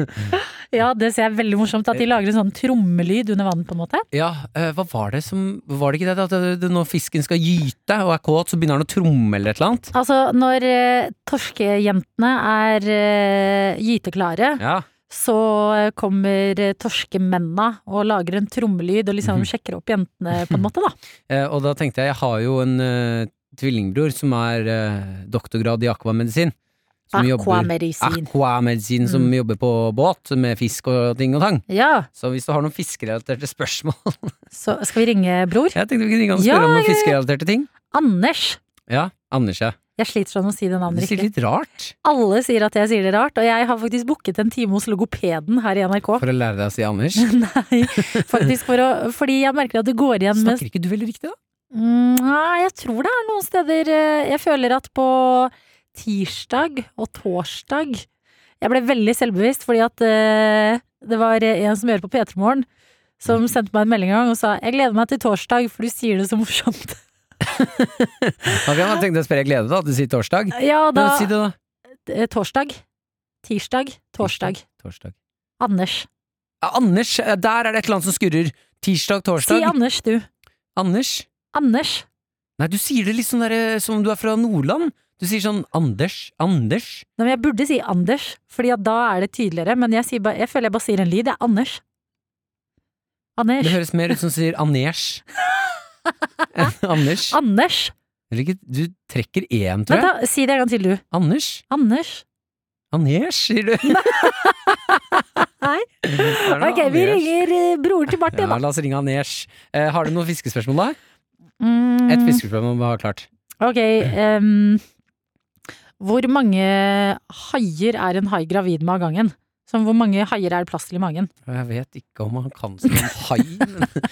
S4: (laughs) ja.
S2: ja, det ser jeg veldig morsomt. At de lager en sånn trommelyd under vann, på en måte.
S4: ja eh, hva var det som Var det ikke det at eh, det, det, når fisken skal gyte og er kåt, så begynner den å tromme eller et eller annet?
S2: Altså, når eh, torskejentene er eh, gyteklare,
S4: Ja.
S2: så eh, kommer eh, torskemennene og lager en trommelyd og
S4: Mhm.
S2: liksom sjekker opp jentene, på en måte, da.
S4: Eh, og da tenkte jeg, jeg har jo en eh, tvillingbror som er eh, doktorgrad i akvamedisin. (laughs) som jobber-
S2: Aquamedisin.
S4: Aquamedisin som
S2: Mm.
S4: jobber på båt med fisk og ting og tang.
S2: Ja,
S4: Så hvis du har noen fiskerelaterte spørsmål (laughs)
S2: så skal vi ringe bror.
S4: Jeg tenkte vi kunne ringe han og
S2: Ja,
S4: spørre om
S2: ja,
S4: noen
S2: ja.
S4: fiskerelaterte ting.
S2: Anders.
S4: Ja, Anders, ja.
S2: Jeg sliter sånn å si det
S4: Du
S2: navnet
S4: sier
S2: riktig.
S4: litt rart
S2: Alle sier at jeg sier det rart, og jeg har faktisk booket en time hos logopeden her i NRK.
S4: for å lære deg å si Anders.
S2: (laughs) Nei, faktisk for å Fordi jeg merker at det går igjen med
S4: Snakker ikke du veldig riktig, da?
S2: Mm, Nei, jeg tror det er noen steder eh, Jeg føler at på tirsdag og torsdag Jeg ble veldig selvbevisst fordi at eh, det var en som gjør på P3 Morgen,
S4: Mhm.
S2: som sendte meg en melding en gang og sa 'Jeg gleder meg til torsdag, for du sier det så
S4: (laughs)
S2: morsomt'.
S4: Da kan jeg tenke deg å spørre, jeg gleder deg til at du sier torsdag.
S2: Ja,
S4: Da,
S2: da
S4: si det, da.
S2: eh, Torsdag. Tirsdag. Torsdag.
S4: Torsdag.
S2: Anders.
S4: Ja, Anders, eh, der er det et eller annet som skurrer. Tirsdag,
S2: Si
S4: torsdag.
S2: Anders, du.
S4: Anders.
S2: Anders.
S4: Nei, du sier det litt sånn derre som om du er fra Nordland. Du sier sånn Anders, Anders.
S2: Nei, men jeg burde si Anders, Fordi at da er det tydeligere, men jeg, sier ba, jeg føler jeg bare sier en lyd. Det er Anders. (laughs)
S4: Det
S2: Anders.
S4: høres mer ut som du sier
S2: (laughs)
S4: Anders. (laughs) enn Anders.
S2: Anders.
S4: Eller ikke, du trekker én, tror
S2: Vent,
S4: jeg.
S2: da. Si det en gang til, du.
S4: Anders.
S2: Anders.
S4: Anders, sier du.
S2: (laughs) Nei.
S4: Er det
S2: Ok, vi
S4: Anders?
S2: ringer eh, broren til Martin,
S4: Ja,
S2: da.
S4: la oss ringe Anders. Eh, har du noen fiskespørsmål, da?
S2: Mm,
S4: Et fiskespørsmål må vi ha klart.
S2: ok. em, hvor mange haier er en hai gravid med av gangen? Som hvor mange haier er det plass til i magen?
S4: Jeg vet ikke om han kan som en hai, men (laughs)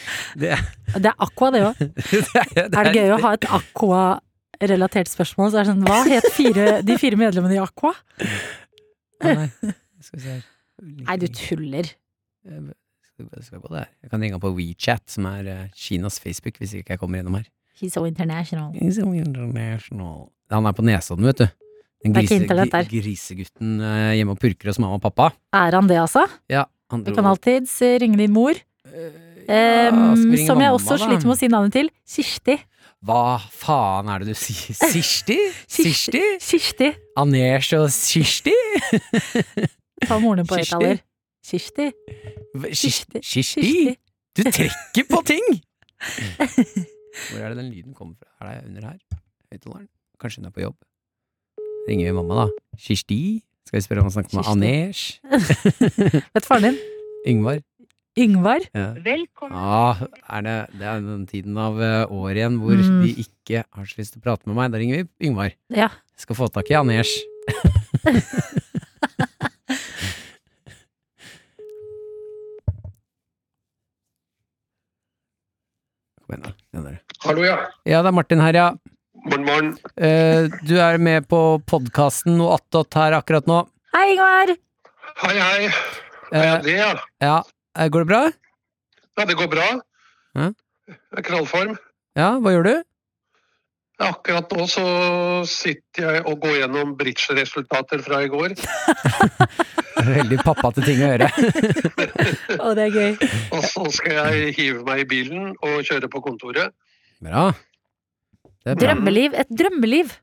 S4: det,
S2: Det er aqua, det òg.
S4: det,
S2: Er
S4: (laughs)
S2: det gøy å ha et aqua-relatert spørsmål? Så er det sånn, hva het fire, de fire medlemmene i Aqua?
S4: Nei, skal vi se her.
S2: Nei, du tuller.
S4: Jeg skal gå der. Jeg kan ringe han på WeChat, som er eh, Kinas Facebook, hvis ikke jeg kommer gjennom her.
S2: He's so international.
S4: He's so international. Han er på Nesodden, vet du. Den
S2: Det er ikke
S4: grise,
S2: internett der.
S4: gri- grisegutten eh, hjemme og purker hos mamma og pappa.
S2: Er han det, altså?
S4: Ja, han
S2: Du
S4: dro
S2: kan alltids eh, ringe din mor.
S4: Eh, Ja,
S2: Em,
S4: skal vi ringe
S2: som jeg
S4: mamma,
S2: også
S4: da?
S2: sliter med å si navnet til. Kirsti.
S4: Hva faen er det du sier? Kirsti?
S2: Kirsti.
S4: Kirsti?
S2: Kirsti.
S4: Anders og Kirsti?
S2: Ta moren din på
S4: Kirsti.
S2: høyttaler. Kirsti.
S4: Hva-
S2: Kirsti.
S4: Kirsti? Kirsti?
S2: Kirsti.
S4: Du trekker på ting! Hvor er det den lyden kommer fra? Er det under her? Høyttaleren? Kanskje hun er på jobb? Ringer vi mamma, da? Kirsti? Skal vi spørre om han snakker med
S2: Kirsti.
S4: Anders?
S2: Vet faren din?
S4: Yngvar?
S2: Yngvar.
S4: Ja.
S6: Velkommen.
S4: Ja, er det, det er den tiden av eh, året igjen hvor
S2: Mm.
S4: de ikke har så lyst til å prate med meg. Da ringer vi Yngvar.
S2: Ja.
S4: Jeg skal få tak i Anders. Kom igjen, da. Den der.
S7: Hallo, ja.
S4: Ja, det er Martin her, ja.
S7: Morgen, morgen.
S4: Eh, du er med på podkasten og attåt her akkurat nå.
S2: Hei, Yngvar!
S7: Hei, hei.
S4: Eh,
S7: Ja, det, ja.
S4: ja, eh, går det bra?
S7: ja. Det går bra.
S4: Ja.
S7: Jeg er Knallform.
S4: Ja, hva gjør du?
S7: Akkurat nå så sitter jeg og går gjennom bridge-resultater fra i går.
S4: Veldig pappa til ting å gjøre.
S2: Å, det er gøy.
S7: Og så skal jeg hive meg i bilen og kjøre på kontoret.
S4: Bra. Det er bra.
S2: Drømmeliv. Et drømmeliv!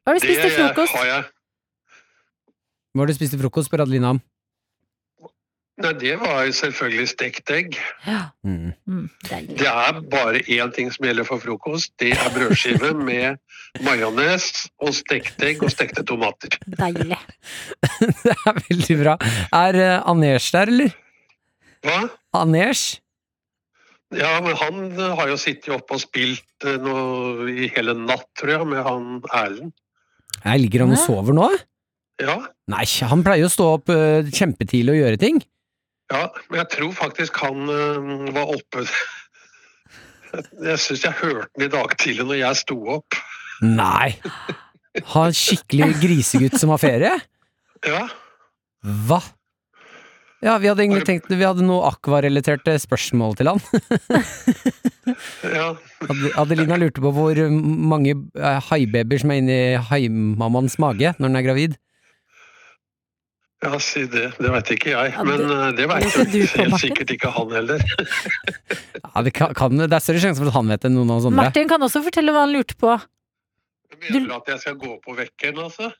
S2: Hva har du spist til
S7: eh,
S2: frokost?
S7: har jeg.
S4: Hva har du spist til frokost, spør Adelina om.
S7: Nei, det var selvfølgelig stekt egg.
S2: Ja.
S4: Mm.
S2: Mm, deilig.
S7: Det er bare én ting som gjelder for frokost. Det er brødskive med majones og stekt egg og stekte tomater.
S2: deilig.
S4: (laughs) Sånn Det er veldig bra. Er eh, Anders der, eller?
S7: Hva?
S4: Anders?
S7: Ja, men han eh, har jo sittet oppe og spilt eh, nå i hele natt, tror jeg, med han Erlend.
S4: Jeg ligger han og
S2: Hæ?
S4: sover nå?
S7: Ja,
S4: Nei, han pleier å stå opp eh, kjempetidlig og gjøre ting.
S7: ja, men jeg tror faktisk han eh, var oppe
S6: (laughs)
S7: Jeg syns jeg hørte han i dag tidlig når jeg sto opp.
S4: Nei! Ha en skikkelig grisegutt som har ferie?
S7: Ja,
S4: Hva? Eh, Ja, vi hadde egentlig tenkt Vi hadde noe akvarelaterte spørsmål til han.
S6: Ja,
S4: Ad- Adelina lurte på hvor mange eh, haibabyer som er inni haimammaens mage når den er gravid.
S6: ja si det. Det veit ikke jeg.
S2: Ja,
S6: Men
S2: det-
S6: eh, det
S2: det
S6: veit
S2: ser du
S6: (laughs)
S2: på,
S6: helt
S2: Martin.
S6: sikkert ikke han heller.
S4: Ja, det, kan, kan, det er større sjanse for at han vet det enn noen av oss andre.
S2: Martin kan også fortelle hva han lurte på.
S6: Mener du at jeg skal gå på vekkeren, altså?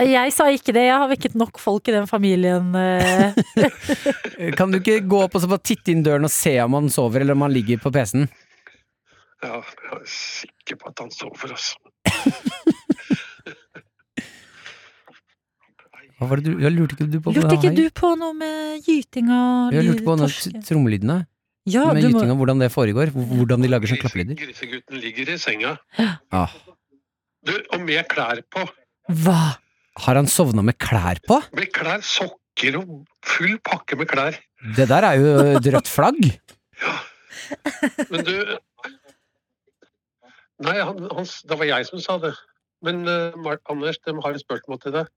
S2: Jeg sa ikke det, jeg har vekket nok folk i den familien. eh.
S4: Kan du ikke gå opp og så bare titte inn døren og se om han sover, eller om han ligger på PC-en?
S6: Ja, jeg er sikker på at han sover, altså.
S4: Hva var det du, jeg lurte ikke du (laughs) på?
S2: Lurte ikke du på noe med gyting og
S4: Jeg lurte på den
S2: torske?
S4: t- trommelydene.
S2: Ja,
S4: med
S2: du må...
S4: gytinga, hvordan det foregår. hvor- Hvordan de lager sånn sånne klappelyder.
S6: Grisegutten ligger i senga.
S4: Ah.
S6: Du, og med klær på.
S2: Hva?
S4: Har han sovna med klær på?
S6: Med klær, sokker og full pakke med klær.
S4: Det der er jo et rødt flagg!
S6: Men du Nei, han, han, det var jeg som sa det. Men eh, Mar Anders, de har et spørsmål til deg.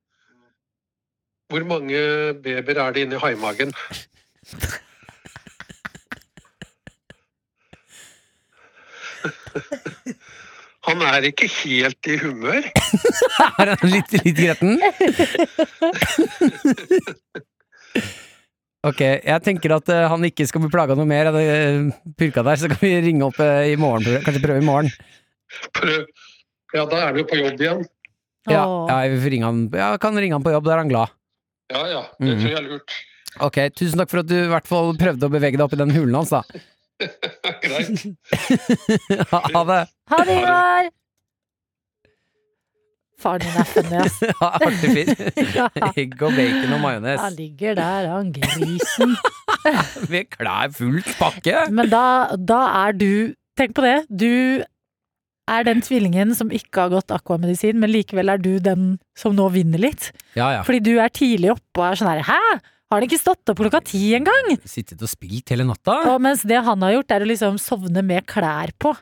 S6: Hvor mange babyer er det inni haimagen? Han er ikke helt i humør.
S4: Er han litt, litt gretten? Ok, jeg tenker at eh, han ikke skal bli plaga noe mer. Jeg hadde eh, purka der, så kan vi ringe opp eh, i morgen. prøve- Kanskje prøve i morgen.
S6: Prøv. Ja, da er du på jobb igjen.
S4: Ja,
S2: Åh.
S4: ja, vi får ringe han. ja, jeg kan ringe han på jobb, da er han glad.
S6: Ja ja, det tror jeg er lurt. (laughs)
S4: Ok, tusen takk for at du i hvert fall prøvde å bevege deg opp i den hulen hans, da. (laughs)
S6: Greit.
S4: Ha det! (laughs)
S2: Ha det, Ivar! Faren din er funny, ass.
S4: Ha det artig
S2: (laughs)
S4: fyr. (laughs)
S2: Ja,
S4: Egg og bacon og
S2: han
S4: majones.
S2: ligger der, han grisen.
S4: Med klær fullt pakke!
S2: Men da, da er du Tenk på det. Du er den tvillingen som ikke har gått akvamedisin, men likevel er du den som nå vinner litt.
S4: Ja ja.
S2: Fordi du er tidlig oppe og er sånn her Hæ? Har han ikke stått opp klokka ti engang?
S4: Sittet og spilt hele natta?
S2: Og mens det han har gjort, er å liksom sovne med klær på.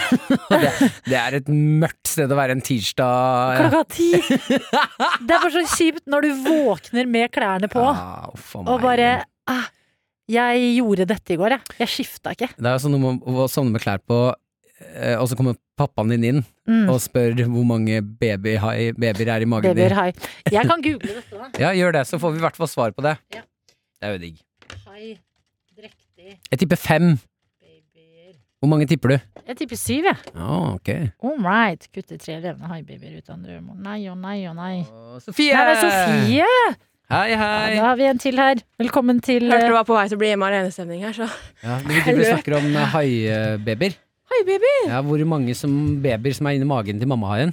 S4: (laughs) Det, det er et mørkt sted å være en tirsdag.
S2: Klokka ti! Det er bare så kjipt når du våkner med klærne på
S4: Ja, uff a meg.
S2: og bare ah, Jeg gjorde dette i går, jeg. Jeg skifta ikke.
S4: Det er jo sånn noe med å sovne med klær på, eh, og så kommer pappaen din inn
S2: Mm.
S4: og spør hvor mange babyhai- babyer er i magen
S2: Babyer
S4: din.
S2: hai. Jeg kan google dette, da.
S4: Ja, gjør det, så får vi i hvert fall svar på det.
S2: Ja.
S4: Det er jo digg.
S2: Hai, drektig,
S4: Jeg tipper fem.
S2: babyer
S4: Hvor mange tipper du?
S2: Jeg tipper syv, jeg.
S4: Ja, ok.
S2: All right. Kutte tre levende haibabyer ut av en drøm. Å Nei og nei og nei.
S4: Og Sofie!
S2: Nei, det er Sofie!
S4: Hei,
S2: Ja,
S4: hei.
S2: da har vi en til her. Velkommen til
S8: Hørte du
S2: eh,
S8: var på vei til å bli hjemme alenestemning her, så
S4: Ja, vi driver og snakker om eh, haibabyer.
S8: Hei, baby!
S4: Ja, hvor mange som babyer som er inni magen til mammahaien?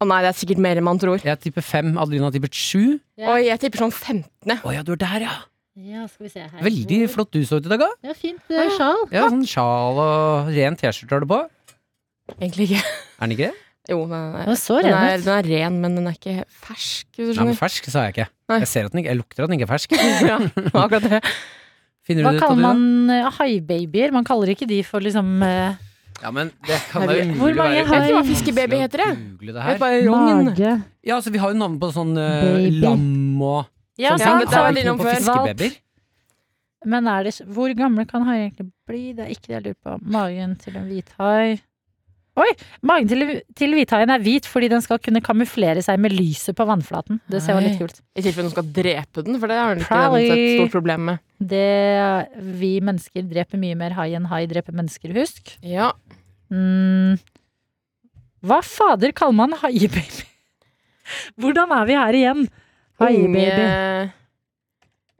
S8: Å nei, det er sikkert mer enn man tror.
S4: Jeg tipper fem. Adelina har tippet sju.
S2: Ja.
S8: Oi, jeg tipper sånn 15.
S4: Å ja, du er der, ja.
S2: Ja, skal vi se her.
S4: Veldig flott du så ut i dag, da.
S2: Ja, fint eh, sjal.
S4: Ja, sånn sjal og ren T-skjorte har du på.
S8: Egentlig ikke.
S4: Er den ikke det?
S8: Jo, den
S2: Den
S8: er,
S2: var så
S8: den
S2: ren
S8: er,
S2: ut.
S8: den er ren, men den er ikke fersk. Hvis du
S4: Nei, men
S8: skjønner.
S4: fersk sa jeg ikke.
S8: Nei.
S4: Jeg ser at den ikke, jeg lukter at den ikke er
S2: (laughs)
S4: fersk.
S8: ja, det var (laughs) akkurat det.
S4: Finner
S2: Hva
S4: du det ut,
S2: kaller
S4: Adelina?
S2: man eh, haibabyer? Man kaller ikke de for liksom eh,
S4: Ja, men det kan da umulig
S2: Hvor mange
S4: være-
S2: har- Vet du hva
S8: fiskebaby heter, det?
S4: Google det
S8: Jeg
S4: her.
S8: vet bare rogn.
S2: mage.
S4: Ja, altså, vi har jo navn på sånn eh,
S2: Baby.
S4: lam og
S2: Ja,
S4: sånn
S8: Ja,
S4: ting.
S2: sant.
S8: men det
S4: Har
S8: var
S4: vi
S8: litt
S4: ikke noe på
S8: om før.
S4: fiskebabyer?
S2: Men er det, hvor gamle kan haier egentlig bli? Det er ikke det jeg lurer på. Magen til en hvithai Oi! Magen til, til hvithaien er hvit fordi den skal kunne kamuflere seg med lyset på vannflaten. Det ser jo litt
S8: Nei.
S2: kult.
S8: I tilfelle noen skal drepe den, for det har den ikke
S2: Probably.
S8: den et stort problem med.
S2: Det Vi mennesker dreper mye mer hai enn hai dreper mennesker, husk.
S8: Ja,
S2: Mm. Hva fader kaller man haibaby? (laughs) Hvordan er vi her igjen? Haibaby.
S8: Unge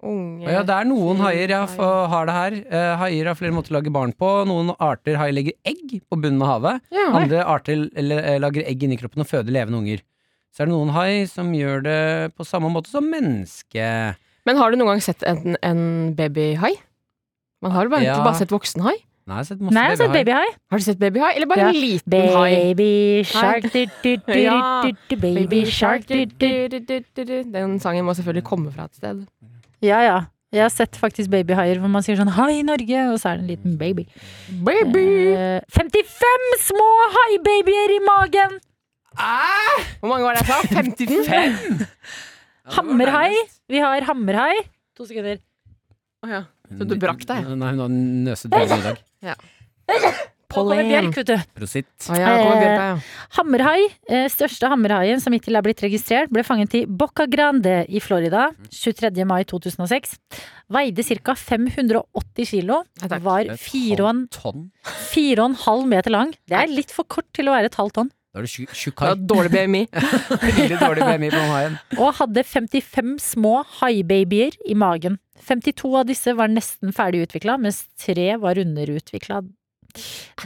S8: Unge
S4: Ja, det er noen haier jeg får- har det her. Eh, haier har flere måter å lage barn på. Noen arter hai legger egg på bunnen av havet.
S8: Ja.
S4: Andre arter eller, eh, lager egg inni kroppen og føder levende unger. Så er det noen hai som gjør det på samme måte som menneske.
S8: Men har du noen gang sett en, en babyhai? Man har jo bare,
S4: Ja.
S8: ikke bare sett voksen hai.
S4: Nei, jeg har sett masse
S2: Nei, jeg har sett
S4: babyhai.
S2: babyhai.
S8: Har du sett babyhai? Eller bare
S2: Ja.
S8: en liten hai?
S2: Baby shark, du, du, du,
S8: Ja.
S2: du, du, baby shark du, du.
S8: Den sangen må selvfølgelig komme fra et sted.
S2: Ja, ja. Jeg har sett faktisk babyhaier hvor man sier sånn 'Hei, Norge', og så er det en liten baby.
S8: Baby!
S2: Eh, 55 små haibabyer i magen!
S8: Eh,
S2: (laughs)
S8: Hvor mange var det jeg sa? 15?
S2: Hammerhai. Vi har hammerhai, To sekunder.
S8: Å ja. Så du brakk deg?
S4: Nei, hun har nøset dårlig i dag.
S2: Nå kommer
S8: Pauline.
S2: Bjørk, vet du.
S4: Prosit.
S8: Å ja, nå kommer Bjørka, ja.
S2: Hammerhai, eh, største hammerhaien som hittil er blitt registrert, ble fanget i Boca Grande i Florida 23. mai 2006. Veide ca. 580 kilo.
S8: Ja, takk.
S2: Var
S4: Et
S2: fire og en-
S4: halvt tonn.
S2: fire og en halv meter lang. Det er litt for kort til å være et halvt tonn.
S4: Da er du tjukk- tjukk
S8: Det
S4: hai.
S8: var Dårlig BMI.
S4: Veldig dårlig BMI på haien.
S2: Og hadde 55 små haibabyer i magen. 52 av disse var nesten ferdig utvikla, mens tre var underutvikla.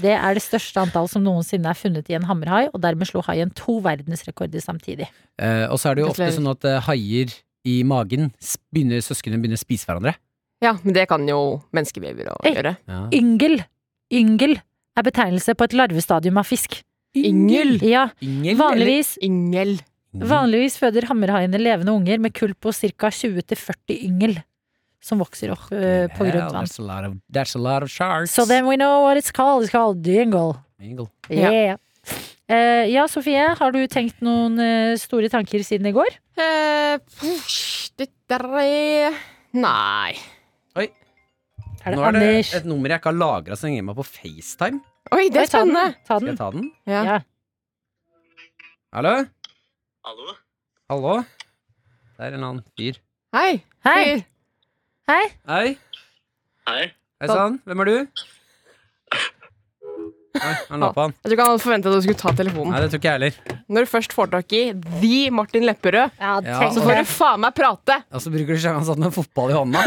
S2: Det er det største antallet som noensinne er funnet i en hammerhai, og dermed slo haien to verdensrekorder samtidig.
S4: (laughs) Eh, og så er det jo ofte
S8: Gratulerer.
S4: sånn at eh, haier i magen s- begynner, Søsknene begynner å spise hverandre.
S8: Ja, men det kan jo menneskebabyer å
S2: Ei.
S8: gjøre.
S4: Ja.
S2: Yngel. Yngel er betegnelse på et larvestadium av fisk.
S8: Yngel. Mm.
S2: Ja,
S4: Yngel.
S2: vanligvis,
S8: Yngel.
S2: vanligvis føder hammerhaiene levende unger med kull på ca. 20-40 yngel, som vokser opp eh, på
S4: Hell,
S2: grunt vann.
S4: That's a lot of, that's a lot of sharks.
S2: So then we know what it's called. It's called yngel.
S4: Yngel.
S2: Yeah.
S8: Ja.
S2: Eh, ja, Sofie, har du tenkt noen eh, store tanker siden i går?
S8: Eh, pff, det der er Nei.
S2: Er det
S4: Nå er det
S2: Anders?
S4: et nummer jeg ikke har lagra som ringer meg på FaceTime.
S8: Oi,
S2: Oi,
S8: det er
S2: ta den,
S8: spennende!
S2: Ta
S4: Skal jeg
S2: den.
S4: ta den?
S8: Ja.
S2: Ja.
S4: Hallo?
S6: Hallo?
S4: Hallo? Det er en annen fyr.
S8: Hei.
S2: Hei. Hei.
S4: Hei.
S6: Hei.
S4: Hei sann. Hvem er du? Nei, han la på han.
S8: Jeg tror ikke han hadde forventa at du skulle ta telefonen.
S4: Nei, det tror ikke jeg heller.
S8: Når du først får tak i The Martin Lepperød,
S2: Ja,
S4: Ja,
S2: tenk
S8: så
S4: og-
S2: det.
S8: får du faen meg prate!
S4: Og så bruker du seg han satt med en fotball i hånda.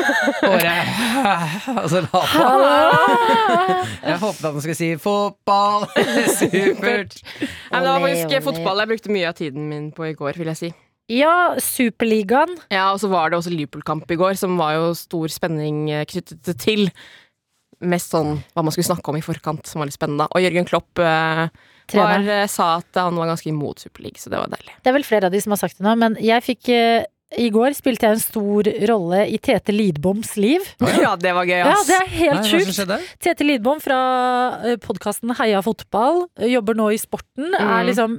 S4: Og bare- (laughs) Og så la på han. Jeg håpet at han skulle si 'fotball'. (laughs) Supert.
S8: Nei, men det var
S2: Ole,
S8: faktisk
S2: ole.
S8: fotball jeg brukte mye av tiden min på i går, vil jeg si.
S2: Ja, Superligaen.
S8: Ja, og så var det også Liverpool-kamp i går, som var jo stor spenning eh, knyttet til. Mest sånn hva man skulle snakke om i forkant, som var litt spennende. Og Jørgen Klopp eh, var,
S2: Trener.
S8: eh, sa at han var ganske imot Superliga, så det var deilig.
S2: Det er vel flere av de som har sagt det nå, men jeg fikk eh, I går spilte jeg en stor rolle i Tete Lidboms liv.
S8: (laughs) Ja, det var gøy,
S2: Ja,
S8: ass.
S2: det er
S4: Nei,
S2: helt
S4: hva som
S2: sjukt.
S4: skjedde?
S2: Tete Lidbom fra podkasten Heia fotball, eh, jobber nå i sporten,
S8: Mm.
S2: er liksom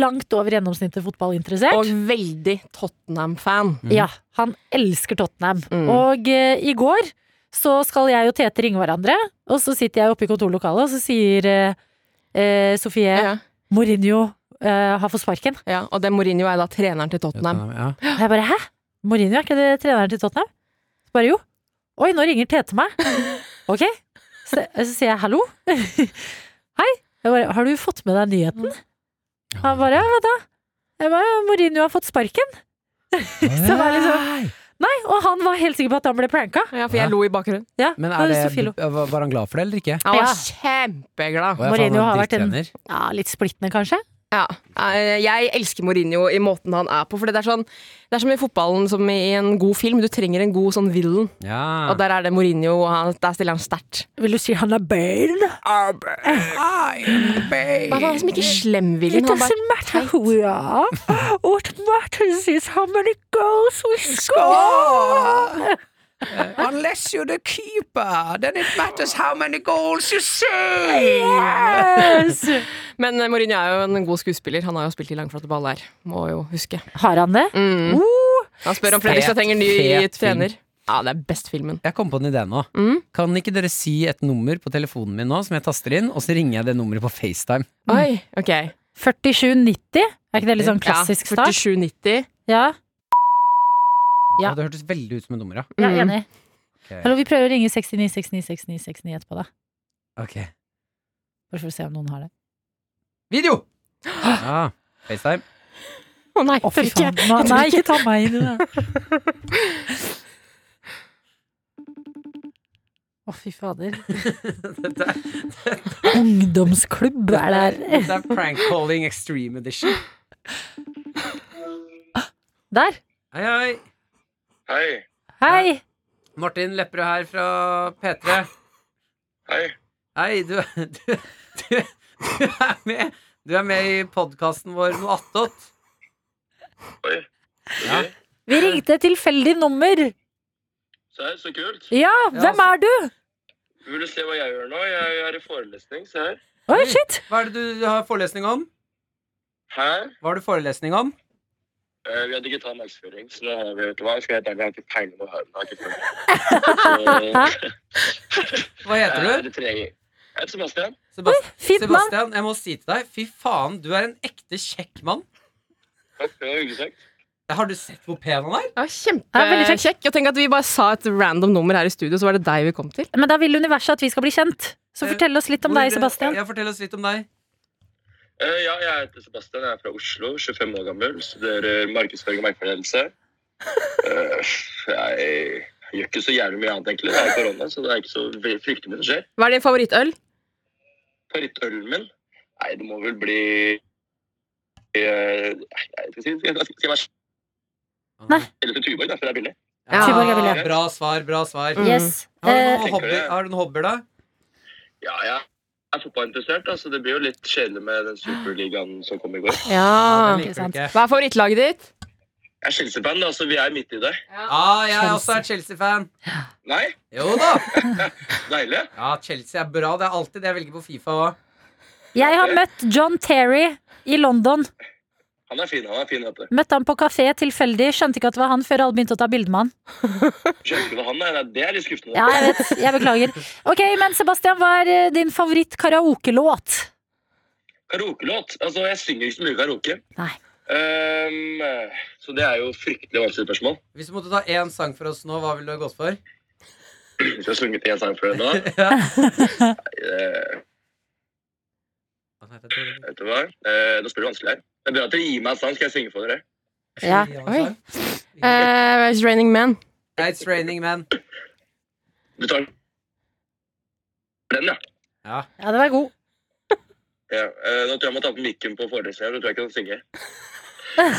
S2: langt over gjennomsnittet fotballinteressert.
S8: Og veldig Tottenham-fan.
S4: Mhm.
S2: Ja, han elsker Tottenham.
S8: Mm.
S2: Og eh, i går så skal jeg og Tete ringe hverandre, og så sitter jeg oppe i kontorlokalet, og så sier eh, eh, Sofie
S8: Ja,
S2: Mourinho eh, har fått sparken.
S8: ja. Og det Mourinho er da treneren til Tottenham.
S4: Ja.
S2: Og jeg bare hæ? Mourinho, er ikke det treneren til Tottenham? Så bare jo. Oi, nå ringer Tete (laughs) meg. Ok. Så, så sier jeg hallo. (laughs) Hei. Jeg bare, har du fått med deg nyheten? Han bare ja, hva da? Jeg bare, ja, Mourinho har fått sparken. (laughs) Så var det liksom- Nei, og han var helt sikker på at han ble pranka.
S8: Ja, for jeg
S4: Ja.
S8: lo i bakgrunnen.
S2: Ja,
S4: Men
S2: det var
S4: er
S2: Sofie lo.
S4: det, var var han glad for det, eller ikke?
S8: Han var
S2: Ja.
S8: kjempeglad.
S4: Å, jeg
S2: Mourinho
S4: faen, han
S2: har vært en-
S4: drittrener.
S2: Ja, litt splittende kanskje.
S8: Ja. Eh, Jeg elsker Mourinho i måten han er på. For det er, sånn, det er som i fotballen, som i en god film. Du trenger en god sånn villain.
S4: Ja.
S8: Og der er det Mourinho, og han, der stiller han sterkt.
S2: Vil du si han er Bale?
S8: Men Han er liksom ikke slem villain.
S2: It
S8: Han bare
S2: doesn't matter who we (laughs) are. What matters is how many goals we score.
S4: Unless you're the keeper, then it matters how many goals you save!
S2: Yes.
S8: Men eh, Mourinho er jo en god skuespiller. Han har jo spilt i langflate baller. Må jo huske.
S2: Har han det?
S8: Mm.
S2: Oh,
S8: Han spør om
S4: Fet,
S8: Fredrikstad trenger ny
S4: fet film.
S8: trener. Ja, det er best filmen.
S4: Jeg kom på en idé nå.
S8: Mm.
S4: Kan ikke dere si et nummer på telefonen min nå, som jeg taster inn, og så ringer jeg det nummeret på FaceTime?
S8: Oi, ok.
S2: 47,90? Er ikke det litt sånn klassisk
S8: ja,
S2: start?
S8: 47,90.
S2: Ja, Ja.
S4: Ja. Det hørtes veldig ut som et nummer, ja.
S2: jeg er
S8: Mm.
S2: enig.
S4: Ok.
S2: Hallo, vi prøver å ringe 69 69 69 69 etterpå, da.
S4: Ok.
S2: Bare for å se om noen har det.
S4: Video! Ja, FaceTime.
S8: Å nei,
S2: Å, fy
S8: tør ikke.
S2: faen. Nå- Nei, ikke ta meg inn i det. Å, fy fader.
S4: dette, er,
S2: Ungdomsklubb er det her.
S4: dette er prank calling extreme edition.
S2: Der.
S4: Hei, hei.
S6: Hei.
S2: Hei.
S4: Martin Lepperød her fra P3.
S6: Hei.
S4: Hei, du, du, du, du er med Du er med i podkasten vår med Attåt.
S6: Oi.
S4: Ja.
S2: Vi ringte et tilfeldig nummer.
S6: Se her, så kult.
S2: Ja, hvem er du?
S6: Vil du se hva jeg gjør nå? Jeg er i forelesning. Se her.
S2: Oi, shit.
S4: Hva er det du har forelesning om?
S6: Her.
S4: Hva har du forelesning om?
S6: Eh, vi har digital markedsføring, så nå har vi vet du hva, jeg skal helt ærlig, jeg har ikke peiling på hva jeg har.
S4: (laughs)
S6: ikke
S4: Hva heter
S6: peiling. Eh,
S4: du?
S6: det trenger jeg. Jeg heter Sebastian.
S4: Sebast
S2: Fint navn!
S4: Sebastian, jeg må si til deg, fy faen, du er en ekte kjekk mann.
S6: Takk, det var hyggelig sagt.
S4: Har du sett hvor pen han er?
S3: Ja,
S2: Ja, veldig kjekk.
S3: Kjempekjekk. Og tenk at vi bare sa et random nummer her i studio, så var det deg vi kom til.
S2: Men da vil universet at vi skal bli kjent. Så
S4: Eh,
S2: fortell oss litt om deg, Sebastian.
S4: Ja, fortell oss litt om deg.
S6: Eh, ja, jeg heter Sebastian, jeg er fra Oslo, 25 år gammel, studerer eh, markedsføring og markedsfordelelse. jeg gjør ikke så jævlig mye annet egentlig, det er korona, så det er ikke så ve- fryktelig mye som skjer.
S3: Hva er din favorittøl?
S6: Favorittølen min? Nei, det må vel bli... eh, nei, jeg skal si, jeg skal si meg
S2: Nei.
S6: selv til Tuborg, da, for det er billig.
S3: Ja.
S2: Tuborg er billig.
S4: Bra svar, bra svar.
S3: Mm.
S2: Yes.
S4: Har, du
S2: Eh,
S4: noen hobbyer, har du noen hobbyer, da?
S6: Ja, jeg er fotballinteressert, altså det blir jo litt kjedelig med den superligaen som kom i går.
S3: Ja.
S4: Ja,
S2: Ah,
S4: den liker du ikke.
S3: Hva er favorittlaget ditt?
S6: Jeg er Chelsea-fan, da, så vi er midt i det.
S4: Ah, jeg er også er Chelsea-fan.
S6: Nei,
S4: Jo da!
S6: deilig.
S4: Ja, Chelsea er bra. Det er alltid det jeg velger på Fifa òg.
S2: jeg har møtt John Terry i London.
S6: Han er fin, han er fin, vet du.
S2: Møtte han på kafé tilfeldig. Skjønte ikke at det var han før alle begynte å ta bilde med han.
S6: Skjønner ikke hva han er, nei, det er litt skuffende.
S2: Ja, jeg vet. Jeg beklager. Ok, men Sebastian, hva er eh, din favoritt-karaokelåt?
S6: Karaokelåt? Altså, jeg synger ikke så mye karaoke.
S2: Nei.
S6: Ehm, så det er jo fryktelig vanskelig spørsmål. (clears throat)
S4: Hvis du måtte ta én sang for oss nå, hva ville du ha gått for?
S6: Hvis jeg har sunget én sang før nå
S2: (laughs)
S4: Ja.
S6: eh, Vet du hva? Eh, nå spør du vanskelig her. Det er bra at dere gir meg en sang, skal jeg synge for dere.
S2: Ja.
S4: Oi.
S3: Eh, it's Raining Men.
S4: It's raining, man.
S6: Du tar den, ja.
S4: Ja.
S2: Ja, den var god.
S6: ja. eh, nå tror jeg jeg må ta på mikken på forelesningen. Nå tror jeg ikke jeg kan synge.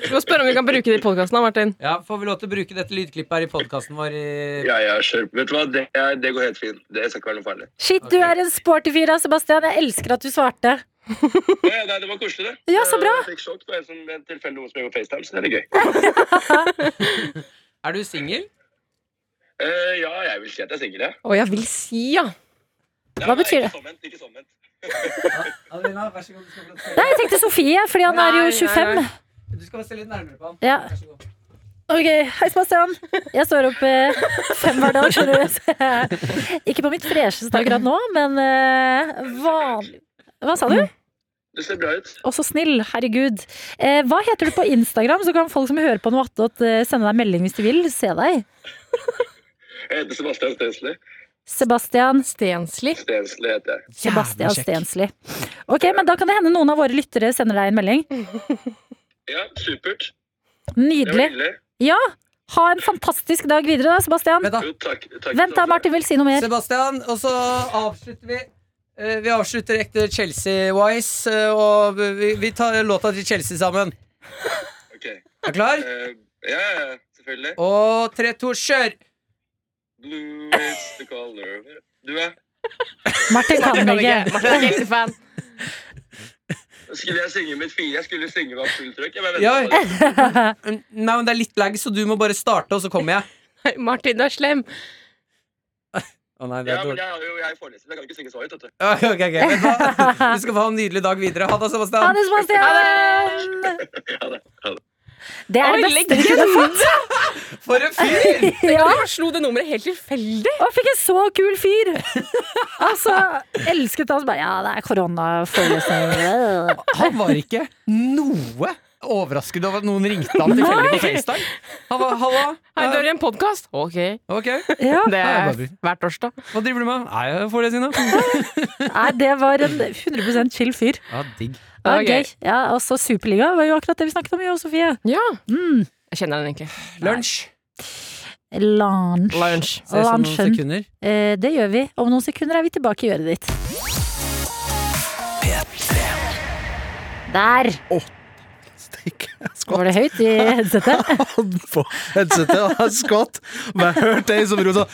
S3: Du må spørre om vi kan bruke det i podkasten, Martin.
S4: ja, Får vi lov til å bruke dette lydklippet her i podkasten vår? I...
S6: Ja, ja, kjør. Vet du hva, det, er- det går helt fint. Det skal ikke være noe farlig.
S2: Shit, du er en sporty fyr, da, Sebastian. Jeg elsker at du svarte.
S6: Å, ja, Eh, nei, det var koselig, det.
S2: Ja, så bra.
S6: Eh, Jeg fikk sjokk da jeg som en tilfeldig noen som gjør FaceTime, så det er litt gøy.
S4: Er du singel?
S6: Eh, ja, jeg vil si at jeg er singel, jeg.
S3: Å, jeg vil si, ja.
S6: Ja,
S2: Hva
S6: nei,
S2: betyr det?
S6: Ikke sånn, ikke sånn.
S4: Adelina, vær så god. Du skal få lov til å
S2: Nei, jeg tenkte Sofie, fordi han er jo
S3: Nei, nei,
S2: 25.
S3: nei.
S4: Du skal bare se litt nærmere på han.
S2: Ja.
S4: Vær så god.
S2: Ok, hei Sebastian. Jeg står opp eh, fem hver dag, skjønner du. (laughs) Så jeg- Ikke på mitt fresheste akkurat nå, men eh, vanlig. Hva sa du?
S6: Det ser bra ut.
S2: Å, så snill. Herregud. Eh, hva heter du på Instagram, så kan folk som hører på noe attåt, eh, sende deg melding hvis de vil. Se deg.
S6: Jeg heter Sebastian Stensli.
S2: Sebastian
S3: Stensli.
S6: Stensli heter jeg.
S2: Sebastian Stensli. Ok, men da kan det hende noen av våre lyttere sender deg en melding.
S6: Ja, supert. Det var
S2: Nydelig.
S6: hyggelig.
S2: Ja, ha en fantastisk dag videre da, Sebastian.
S4: Vent da.
S6: Jo, takk. takk
S2: Vent da, Martin vil si noe mer.
S4: Sebastian, og så avslutter vi. Eh, Vi avslutter ekte Chelsea-wise, eh, og vi- vi tar låta til Chelsea sammen.
S6: Ok.
S4: Er du klar?
S6: Eh, ja, ja, selvfølgelig.
S4: Og tre, to, kjør!
S6: Blue is the color. Du, ja.
S2: Martin kan ikke.
S3: Martin er ikke
S2: (laughs)
S3: ekte fan.
S6: Skulle jeg synge mitt fire? Jeg skulle synge med fullt trøkk. Jeg bare
S4: Ja.
S6: ventet på det.
S4: Nei, men Det er litt lag, så du må bare starte, og så kommer jeg.
S3: Nei, Martin, du er slem.
S4: Å nei, det
S6: Ja,
S4: er
S6: men
S4: dårlig.
S6: jeg har jo jeg er foreleser, så jeg kan ikke synge så høyt, vet du.
S4: Ja, (laughs) ok, ok, vet du hva? Du skal få ha en nydelig dag videre. Ha det,
S2: Ha
S4: Sebastian.
S2: det, Sebastian!
S6: Ja, det. Ja, det.
S2: Det er det
S3: Oi,
S2: beste vi kunne fått.
S4: For en
S2: (laughs)
S4: fyr!
S2: Ja,
S3: Jeg bare slo det nummeret helt tilfeldig.
S2: og fikk en så kul fyr. (laughs) Altså, elsket han. Så bare, ja, det er koronaforelesning.
S4: Han var ikke noe overrasket over at noen ringte han tilfeldig på FaceTime. Han var, Halla.
S3: Hei, du
S4: eh,
S3: er i en podkast. Ok.
S4: Ok.
S2: Ja,
S3: Det
S4: Ja,
S3: er
S4: bare-
S3: hver torsdag.
S4: Hva driver du med? Nei, jeg får det, Sina.
S2: nei, det var en 100 chill fyr.
S4: Ja, Ah, digg.
S2: Ja,
S3: Ok.
S2: gøy. Ja, også Superliga var jo akkurat det vi snakket om, jo, Sofie.
S3: Ja.
S2: Mm.
S3: Jeg kjenner den egentlig.
S4: Lunsj.
S2: Lunsj.
S3: Lunsj.
S4: Ses om noen
S2: Lunsjen.
S4: sekunder.
S2: Eh, det gjør vi. Om noen sekunder er vi tilbake i øret ditt. Der
S5: Steik, jeg
S2: var
S5: skvatt.
S2: det høyt i headsetet.
S5: Jeg hadde på headsetet, og jeg skvatt. Men jeg hørte ei som ropte sånn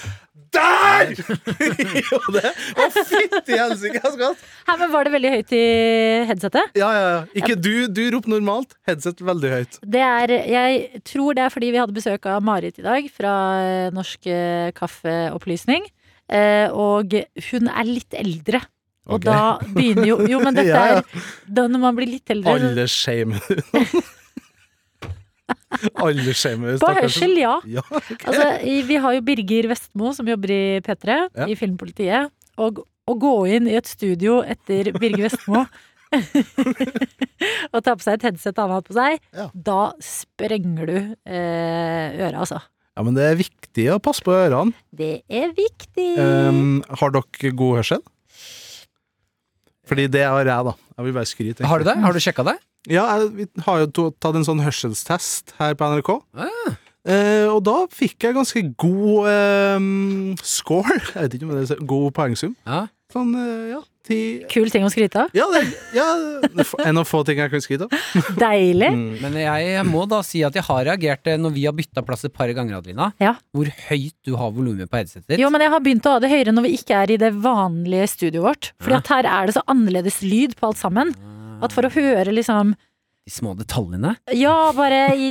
S5: Der! Og det Å, fytti helsike, jeg skvatt.
S2: Her, men var det veldig høyt i headsetet?
S5: Ja, ja, ja. Ikke du. Du roper normalt. Headset veldig høyt.
S2: Det er, jeg tror det er fordi vi hadde besøk av Marit i dag fra eh, Norsk eh, Kaffeopplysning. Eh, og hun er litt eldre. Og
S5: Ok.
S2: da begynner jo
S5: (laughs)
S2: Jo, men dette
S5: Ja, ja.
S2: er da Når man blir litt eldre så-
S5: Alle shamer Alle shamer
S2: På hørsel, ja.
S5: Ja,
S2: Altså, i- vi har jo Birger Vestmo som jobber i P3,
S5: Ja.
S2: i Filmpolitiet. Og å gå inn i et studio etter Birger Vestmo (laughs) og ta på seg et headset han har hatt på seg,
S5: Ja.
S2: da sprenger du eh, øret, altså.
S5: ja, men det er viktig å passe på ørene.
S2: Det er viktig!
S5: Um, har dere god hørsel? Fordi det har jeg, da. Jeg vil bare skryte. egentlig.
S4: Har du det? Har du sjekka det?
S5: Ja, jeg, vi har jo to- tatt en sånn hørselstest her på NRK. Eh, og da fikk jeg ganske god eh, score. Jeg vet ikke om det er så- god poengsum.
S4: Ja.
S5: Sånn, eh, ja, ti
S2: Kul ting å skryte av.
S5: Ja, det, ja det er f- en av få ting jeg kan skryte av.
S2: Deilig.
S5: Mm.
S4: Men jeg må da si at jeg har reagert eh, når vi har bytta plass et par ganger, Adelina.
S2: Ja.
S4: Hvor høyt du har volumet på headsetet ditt.
S2: Jo, men jeg har begynt å ha det høyere når vi ikke er i det vanlige studioet vårt. Fordi at her er det så annerledes lyd på alt sammen.
S5: Ah.
S2: At for å høre liksom
S4: De små detaljene.
S2: Ja, bare i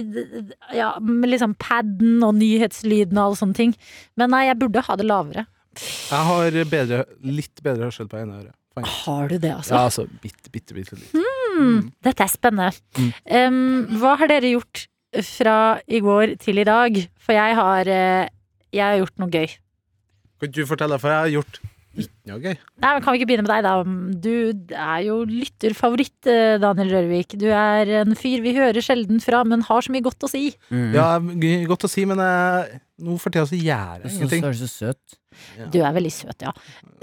S2: ja, med liksom paden og nyhetslyden og alle sånne ting. Men nei, jeg burde ha det lavere.
S5: Jeg har bedre, litt bedre hørsel på ene øret. Poeng.
S2: Har du det, altså?
S5: Ja, altså bitte, bitte, bitte litt.
S2: Hmm, dette er spennende.
S5: Mm.
S2: Em, hva har dere gjort fra i går til i dag? For jeg har, eh, jeg har gjort noe gøy.
S5: Kan du fortelle, for jeg har gjort ikke noe gøy.
S2: Nei, men Kan vi ikke begynne med deg, da? Du er jo lytterfavoritt, eh, Daniel Rørvik. Du er en fyr vi hører sjelden fra, men har så mye godt å si.
S4: Mm.
S5: Ja, g- godt å si, men jeg, nå for tida så gjør jeg ingenting.
S4: er så søt.
S2: Du er veldig søt, ja.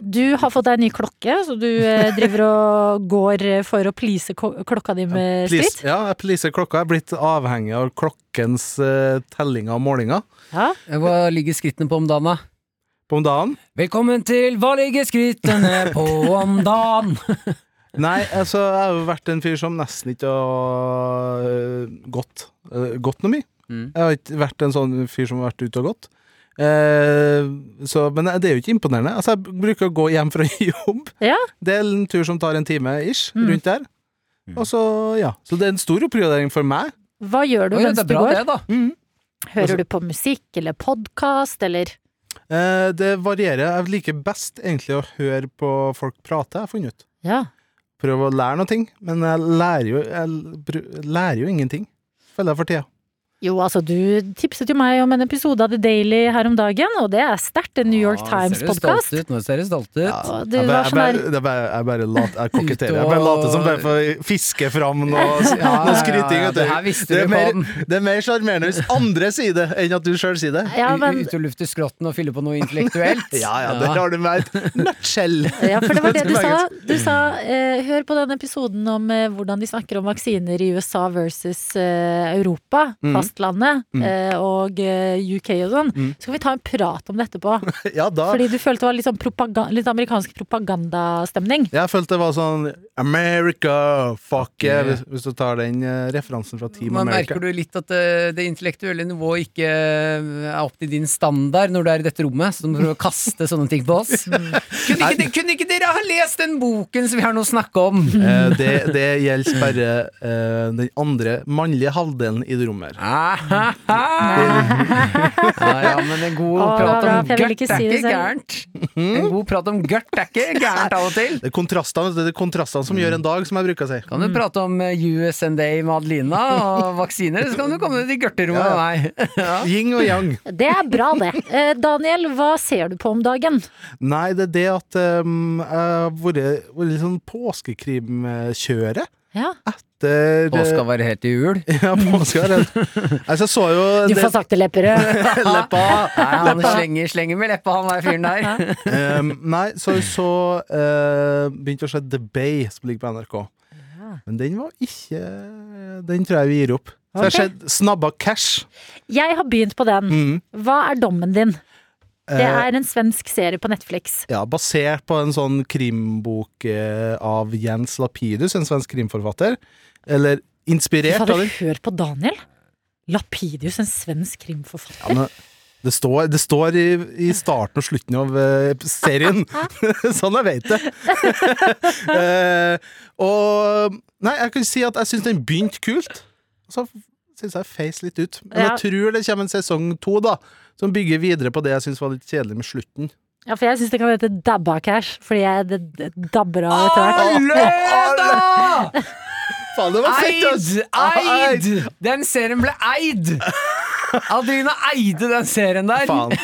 S2: Du har fått deg en ny klokke, så du
S4: (laughs)
S2: eh, driver og går eh, for å please ko- klokka di med
S5: Please,
S2: skritt.
S5: ja, jeg pleaser klokka. Jeg er blitt avhengig av klokkens eh, tellinger og målinger
S2: Ja.
S4: Hva ligger skrittene på om dagen, da?
S5: på om dagen.
S4: Velkommen til Hva ligger skrittene på om dagen?
S5: Nei, altså, jeg har jo vært en fyr som nesten ikke har eh, gått, eh, gått noe mye.
S4: Mm.
S5: Jeg har ikke vært en sånn fyr som har vært ute og gått. Eh, så, men det er jo ikke imponerende. Altså, jeg bruker å gå hjem fra (laughs) jobb.
S2: Ja.
S5: Det er en tur som tar en time ish,
S2: Mm.
S5: rundt der. Og så, ja. så det er en stor opprioritering for meg.
S2: Hva gjør (laughs) du
S4: Oi,
S2: mens
S4: det er
S2: du
S4: bra,
S2: går?
S4: det, Altså- da.
S2: Hører du på musikk eller podkast eller
S5: Eh, det varierer. Jeg liker best egentlig å høre på folk prate, jeg har funnet ut.
S2: Ja.
S5: prøve å lære noe, ting, men jeg lærer jo, jeg bru- lærer jo ingenting, føler jeg for tida.
S2: Jo, altså, du tipset jo meg om en episode av The Daily her om dagen, og det er sterkt. En New York Times-podkast.
S4: Nå Ah, ser du stolt ut.
S2: Og du
S5: Jeg bare,
S2: var
S5: jeg
S2: sånn
S5: bare,
S2: der
S5: jeg bare, jeg bare, lat, jeg koketterer. Jeg bare later som bare for å fiske fram noe, noe skryting. vet du.
S4: Det her visste
S5: Det er
S4: du,
S5: mer-
S4: Pan.
S5: Det er mer sjarmerende hvis andre sier det, enn at du sjøl sier det.
S2: ja, men,
S4: Ute og lufte skrotten og fylle på noe intellektuelt.
S5: (laughs) Ja ja, der har du meg et nutshell.
S2: ja, for det var det du sa. Du sa eh, hør på den episoden om eh, hvordan de snakker om vaksiner i USA versus eh, Europa,
S5: Mhm.
S2: fastlandet, eh, og eh, UK og sånn.
S5: Mhm.
S2: Så kan vi ta en prat om det etterpå.
S5: (laughs) Ja, da
S2: Fordi du følte det var litt, sånn propaga litt amerikansk propagandastemning.
S5: Jeg følte det var sånn America, fuck yeah,
S4: Yeah.
S5: hvis, hvis du tar den eh, referansen fra Team
S4: Man
S5: America.
S4: merker du litt at eh, det intellektuelle nivået ikke eh, er opp til din standard når du er i dette rommet, så du prøver å kaste sånne ting på
S2: (laughs)
S4: oss. Kunne ikke, de- kunne ikke dere ha lest den boken som vi har nå snakka om?
S2: (laughs)
S5: Eh, det, det gjelder bare eh, den andre mannlige halvdelen i det rommet her.
S4: ja, Ah, ja, men en god
S2: Å,
S4: prat
S2: bra,
S4: om
S2: for jeg ville
S4: gørt
S2: ikke
S4: er
S2: si det
S4: ikke gærent. En god prat om gørt er ikke gærent av og til.
S5: Det er kontrastene, vet du, det er kontrastene
S2: Mm.
S5: som gjør en dag, som jeg bruker å si.
S4: Kan du prate om eh, US and Day med Adelina og vaksiner, så kan du komme ut i gørterommet med meg. Ja.
S5: Yin og
S2: (laughs)
S5: yang.
S2: Det er bra, det. (laughs) Eh, Daniel, hva ser du på om dagen?
S5: Nei, det er det at ehm, jeg har vært, vært litt sånn påskekrimkjøret.
S2: Ja.
S5: Der,
S4: Og skal være helt i (laughs) jul.
S5: eh, (laughs) Ja, påske er
S2: (laughs)
S5: det. Altså, jeg så jo
S2: Du får
S5: (laughs) det,
S2: sakte lepperød.
S5: leppa.
S4: Nei, han slenger, slenger med leppa, han der fyren der.
S5: Ehm, nei, så jeg så eh, begynte å se The Bay, som ligger på NRK. Men den var ikke Den tror jeg vi gir opp. Så jeg har sett Snabba Cash.
S2: Jeg har begynt på den.
S5: Mm.
S2: Hva er dommen din? Det
S5: Eh,
S2: er en svensk serie på Netflix.
S5: Ja, basert på en sånn krimbok eh, av Jens Lapidus, en svensk krimforfatter. Eller inspirert av
S2: Fader,
S5: den.
S2: hør på Daniel! Lapidius, en svensk krimforfatter.
S5: Ja, men det står, det står i, i starten og slutten av eh, serien. (laughs) sånn jeg vet det. (laughs) Eh, og Nei, jeg kan si at jeg syns den begynte kult. Så syns jeg feis litt ut. Men
S2: Ja.
S5: jeg tror det kommer en sesong to, da. Som bygger videre på det jeg syns var litt kjedelig med slutten.
S2: Ja, for jeg syns det kan hete dabba cash, fordi jeg det, det dabber av etter hvert.
S4: Løda!
S5: Faen, det var fett,
S4: Eid!
S5: ass!
S4: Eid! Den serien ble eid! Adelina eide den serien der.
S5: Faen.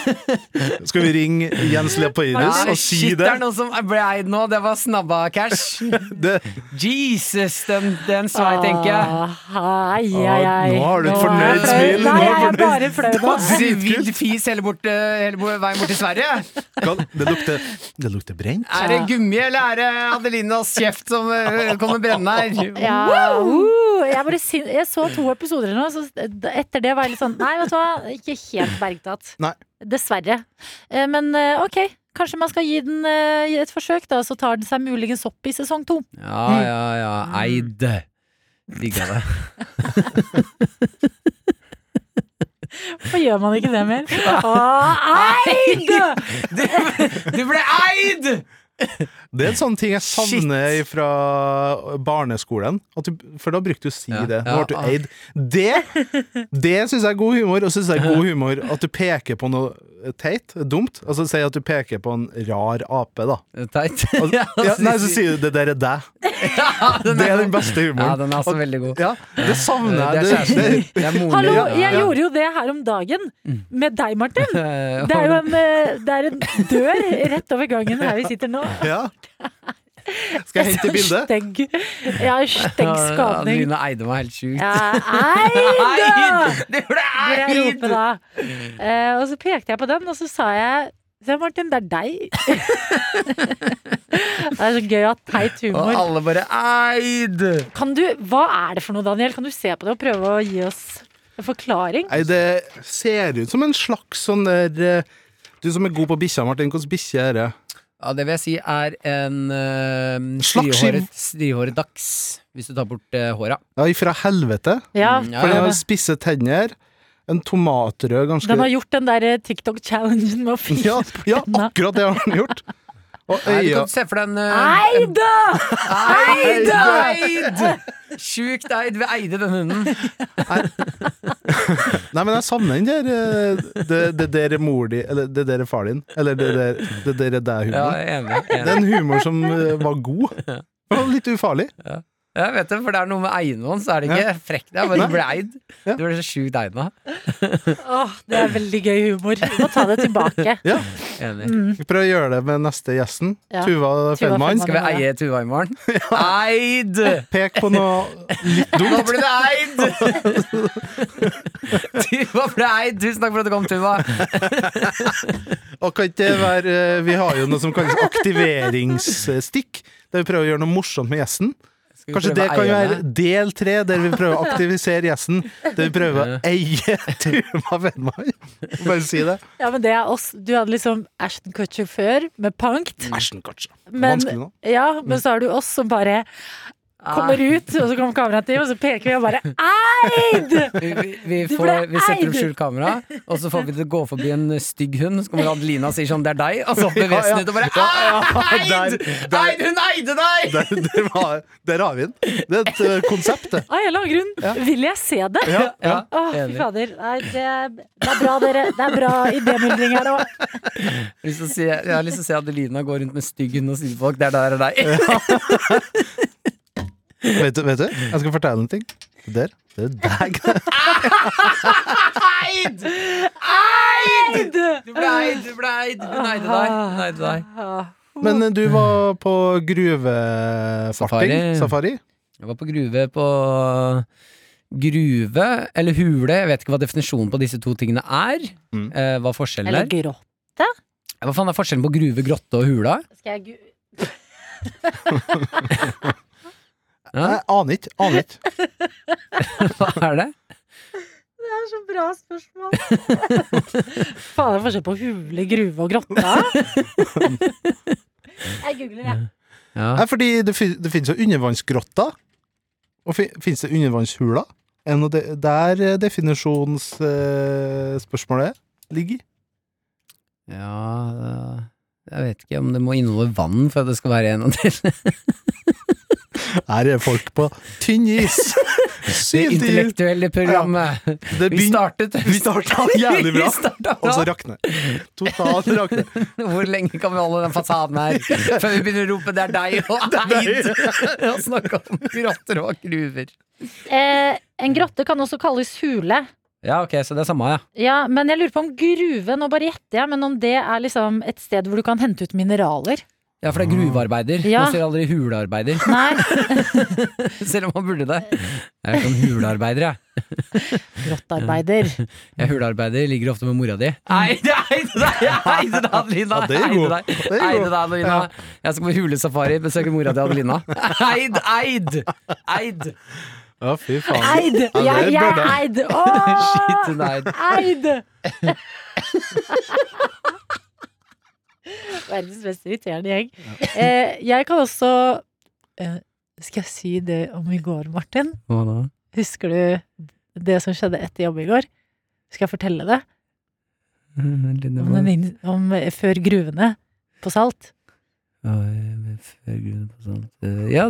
S5: Skal vi ringe Jens Leopoldus
S4: Ja,
S5: og si
S4: shit, det
S5: det?
S4: er noen som ble eid nå. Det var snabba (laughs) cash.
S5: det?
S4: Jesus, den, den svei, tenker jeg.
S2: Ah, hei, hei, hei.
S5: Nå har du
S2: Nå er
S5: et
S2: jeg
S5: fornøyd smil.
S2: flau.
S5: Nå
S2: Nei,
S5: er
S2: jeg er
S5: du
S2: bare flau nå.
S4: Svidd fis hele, bort, eh, hele bo- veien bort til Sverige.
S5: Kan, det, lukter, det lukter brent.
S4: Er det gummi, eller er det Adelinas kjeft som eh, kommer brennende her?
S2: Ja, uh, jeg, bare sin jeg så to episoder eller noe, så etter det var jeg litt sånn Nei, vet du hva, ikke helt bergtatt.
S5: Nei.
S2: Dessverre. Eh, Men eh, ok, kanskje man skal gi den eh, et forsøk, da, så tar den seg muligens opp i sesong to.
S4: Ja, ja, ja. Eid. Digga det.
S2: Hvorfor gjør man ikke det
S5: (laughs)
S2: mer? Åh, eid!
S4: Du, du ble eid!
S5: Det er en sånn ting jeg
S4: Shit.
S5: savner fra barneskolen. At du, for da brukte du å si
S4: Ja,
S5: det.
S4: ja,
S5: Nå ble du
S4: ah.
S5: eid. Det, det syns jeg er god humor. Og syns jeg er god humor at du peker på noe teit, dumt. Altså si at du peker på en rar ape, da.
S4: (laughs) Teit.
S5: Og, ja,
S4: altså,
S5: nei, så sier du 'det der er deg'. Det er den beste
S4: Ja,
S5: humoren.
S4: den er altså veldig god. Eh,
S5: Ja, det savner
S4: Det
S5: jeg.
S4: er
S5: Det,
S4: kjæresten.
S5: det,
S4: Det er moren
S2: Hallo,
S4: din.
S2: jeg gjorde jo det her om dagen.
S5: Mm.
S2: Med deg, Martin. Det er jo en, eh, det er en dør rett over gangen her vi sitter nå.
S5: ja. Skal jeg hente bildet?
S2: Stygg. Ja, stygg skapning.
S4: Adelina eide meg helt sjukt.
S2: Ja,
S5: (laughs)
S2: eid!
S4: Eid! Du ble
S2: Hvor jeg
S4: eid!
S2: roper da. Eh, og så pekte jeg på den, og så sa jeg Se, Martin, det er deg. (laughs) det er så gøy å ha teit
S4: Og
S2: humor.
S4: alle bare eid!
S2: Kan du, hva er det for noe, Daniel? Kan du se på det og prøve å gi oss en forklaring?
S5: Nei, det ser ut som en slags sånn der eh, Du som er god på bikkja, Martin. Hvilken bikkje er det?
S4: Ja, det vil jeg si er en uh,
S5: Slagskiv.
S4: strihåret, strihåret dachs, hvis du tar bort uh, håra.
S5: Ja, ifra helvete.
S2: Ja,
S4: Mm, ja,
S5: For den
S4: ja,
S5: har spisse tenner. En tomatrød ganske
S2: Den har gjort den der eh, TikTok-challengen
S5: (laughs)
S2: med å finne
S5: ja,
S4: (laughs)
S5: ja, akkurat det har den gjort. Og
S4: Nei, du
S5: øya
S4: kan se for deg en eh,
S2: Nei da!
S4: Eid! Eid! Sjukt eid. Vi eide den hunden.
S5: Nei, men jeg savner den der eh, Det, det der er mor di Eller det der er far din. Eller det der, det der er
S4: Ja,
S5: deg-humoren.
S4: jeg er enig. jeg er
S5: Det
S4: enig.
S5: er en humor som eh, var
S4: (laughs)
S5: god. Den var litt ufarlig.
S4: Jeg vet det, for det er noe med eiendommen, så er det ikke frekt. Ja, men du ble eid.
S5: Ja.
S4: Du ble så sjukt eid nå.
S2: Åh, det er veldig gøy humor. Vi må ta det tilbake.
S5: Ja,
S4: Enig.
S2: Mm.
S5: Vi prøver å gjøre det med neste gjesten.
S2: Ja.
S5: Tuva
S2: Fellmann.
S5: Fellmann.
S4: Skal vi eie Tuva i morgen? Eid!
S5: Pek på noe litt
S4: Nå
S5: dumt.
S4: ble det eid! (laughs) Tuva ble eid. Tusen takk for at du kom, Tuva.
S5: Og kan ikke det være, eh, vi har jo noe som kalles aktiveringsstikk, der vi prøver å gjøre noe morsomt med gjesten.
S4: Skal vi
S5: Kanskje
S4: prøve
S5: det kan
S4: eierne?
S5: være del tre, der vi
S4: (laughs)
S5: prøver å aktivisere gjesten. Der vi prøver å eie Tuva Vennmann. Bare si det.
S2: Ja, men det er oss. Du hadde liksom Ashton Kutcher før, med
S4: Mm.
S2: punkt.
S5: Æsjen, kanskje.
S2: Men,
S5: Vanskelig nå.
S2: ja, men så har du oss som bare kommer
S4: Ah.
S2: ut, og så kommer kameraet til, og så peker vi og bare Eid!
S4: Vi, vi, vi,
S2: Du
S4: får,
S2: ble
S4: vi setter
S2: eid!
S4: opp skjult kamera, og så får vi det gå forbi en stygg hund. Så kommer Adelina og sier sånn 'det er deg', og så hopper
S5: Ja, ja.
S4: Vesen ut og bare "Ah,
S5: Ja, ja.
S4: 'eid!
S5: Der- der-
S4: Eid, hun eide deg!'
S5: Der, der, var, der har vi den. Det er et eh, konsept, det.
S2: Av en eller annen grunn vil jeg se det.
S5: Ja, ja.
S2: Å, fy
S4: Enig.
S2: fader. Nei, det, er- det er bra, dere. Det er bra idémyldring her òg.
S4: Jeg har lyst til å se- jeg har lyst til å se Adelina gå rundt med stygg hund og si til folk 'det er der det er deg'.
S5: Vet, du, vet du, jeg skal fortelle en ting. Der. Det er deg.
S4: Eid! Eid! (laughs) Du ble eid, du ble eid. Hun eide deg. Hun eide deg.
S5: Men eh, du var på gruvefarting?
S4: Safari.
S5: Safari?
S4: Jeg var på gruve på Gruve, eller hule, jeg vet ikke hva definisjonen på disse to tingene er.
S5: Mm.
S4: Eh, hva er forskjellen
S2: Eller
S4: der?
S2: grått.
S4: Hva faen er forskjellen på gruve, grotte og hula?
S2: Skal jeg gu-
S4: Ja,
S5: Jeg aner ikke. Aner ikke.
S4: hva er det?
S2: Det er så bra spørsmål. (laughs) Faen, det er forskjell på hule, gruve og grotte. (laughs) Jeg googler, jeg.
S4: Ja.
S5: Nei, fordi det, fin- det finnes jo undervannsgrotter. Og fi, finnes det undervannshuler? Er det noe de- der eh, definisjonsspørsmålet eh, ligger?
S4: ja eh, Jeg vet ikke om det må inneholde vann for at det skal være en av delene.
S5: Her er folk på tynn (laughs) is!
S4: Det
S5: Syv til jul!
S4: intellektuelle programmet.
S5: Det
S4: Vi
S5: begynner
S4: startet
S5: (laughs)
S4: (laughs)
S5: Vi starta jævlig bra.
S4: Vi starta
S5: Og
S4: bra.
S5: så rakner det. Totalt rakne.
S4: Hvor lenge kan vi holde den fasaden her før vi begynner å rope 'det er deg' og 'eid'? (laughs) Og snakke om grotter og gruver.
S2: Eh, en grotte kan også kalles hule.
S4: Ja, ok, så det er samme, ja.
S2: Ja, men jeg lurer på om gruve, nå bare gjetter jeg, men om det er liksom et sted hvor du kan hente ut mineraler?
S4: Ja, for det er gruvearbeider.
S2: Ja.
S4: Man sier aldri hulearbeider, (laughs)
S2: (laughs) Nei,
S4: selv om man burde det. Jeg er sånn hulearbeider, jeg.
S2: grottearbeider.
S4: Jeg er hulearbeider, ligger ofte med mora di. Nei, det er ikke deg! Eide deg, Adelina!
S5: Ja, det er jo god.
S4: Eide
S5: Det
S4: deg,
S5: er jo
S4: Eide
S5: god.
S4: deg, Adelina.
S5: Ja.
S4: Jeg skal på hulesafari, besøke mora di, Adelina. Eid, eid! Eid!
S5: Ja, fy faen.
S2: Eid!
S5: Ja, det
S2: Jeg, jeg er
S5: burde jeg.
S2: (laughs) eid! Åh!
S4: Shit, hun er eid.
S2: Eid! Verdens mest irriterende gjeng. Eh, jeg kan også eh, Skal jeg si det om i går, Martin?
S4: Hva da?
S2: Husker du det som skjedde etter jobb i går? Skal jeg fortelle det? Om, den, inn- om, eh, før gruvene på Salt?
S4: Ja,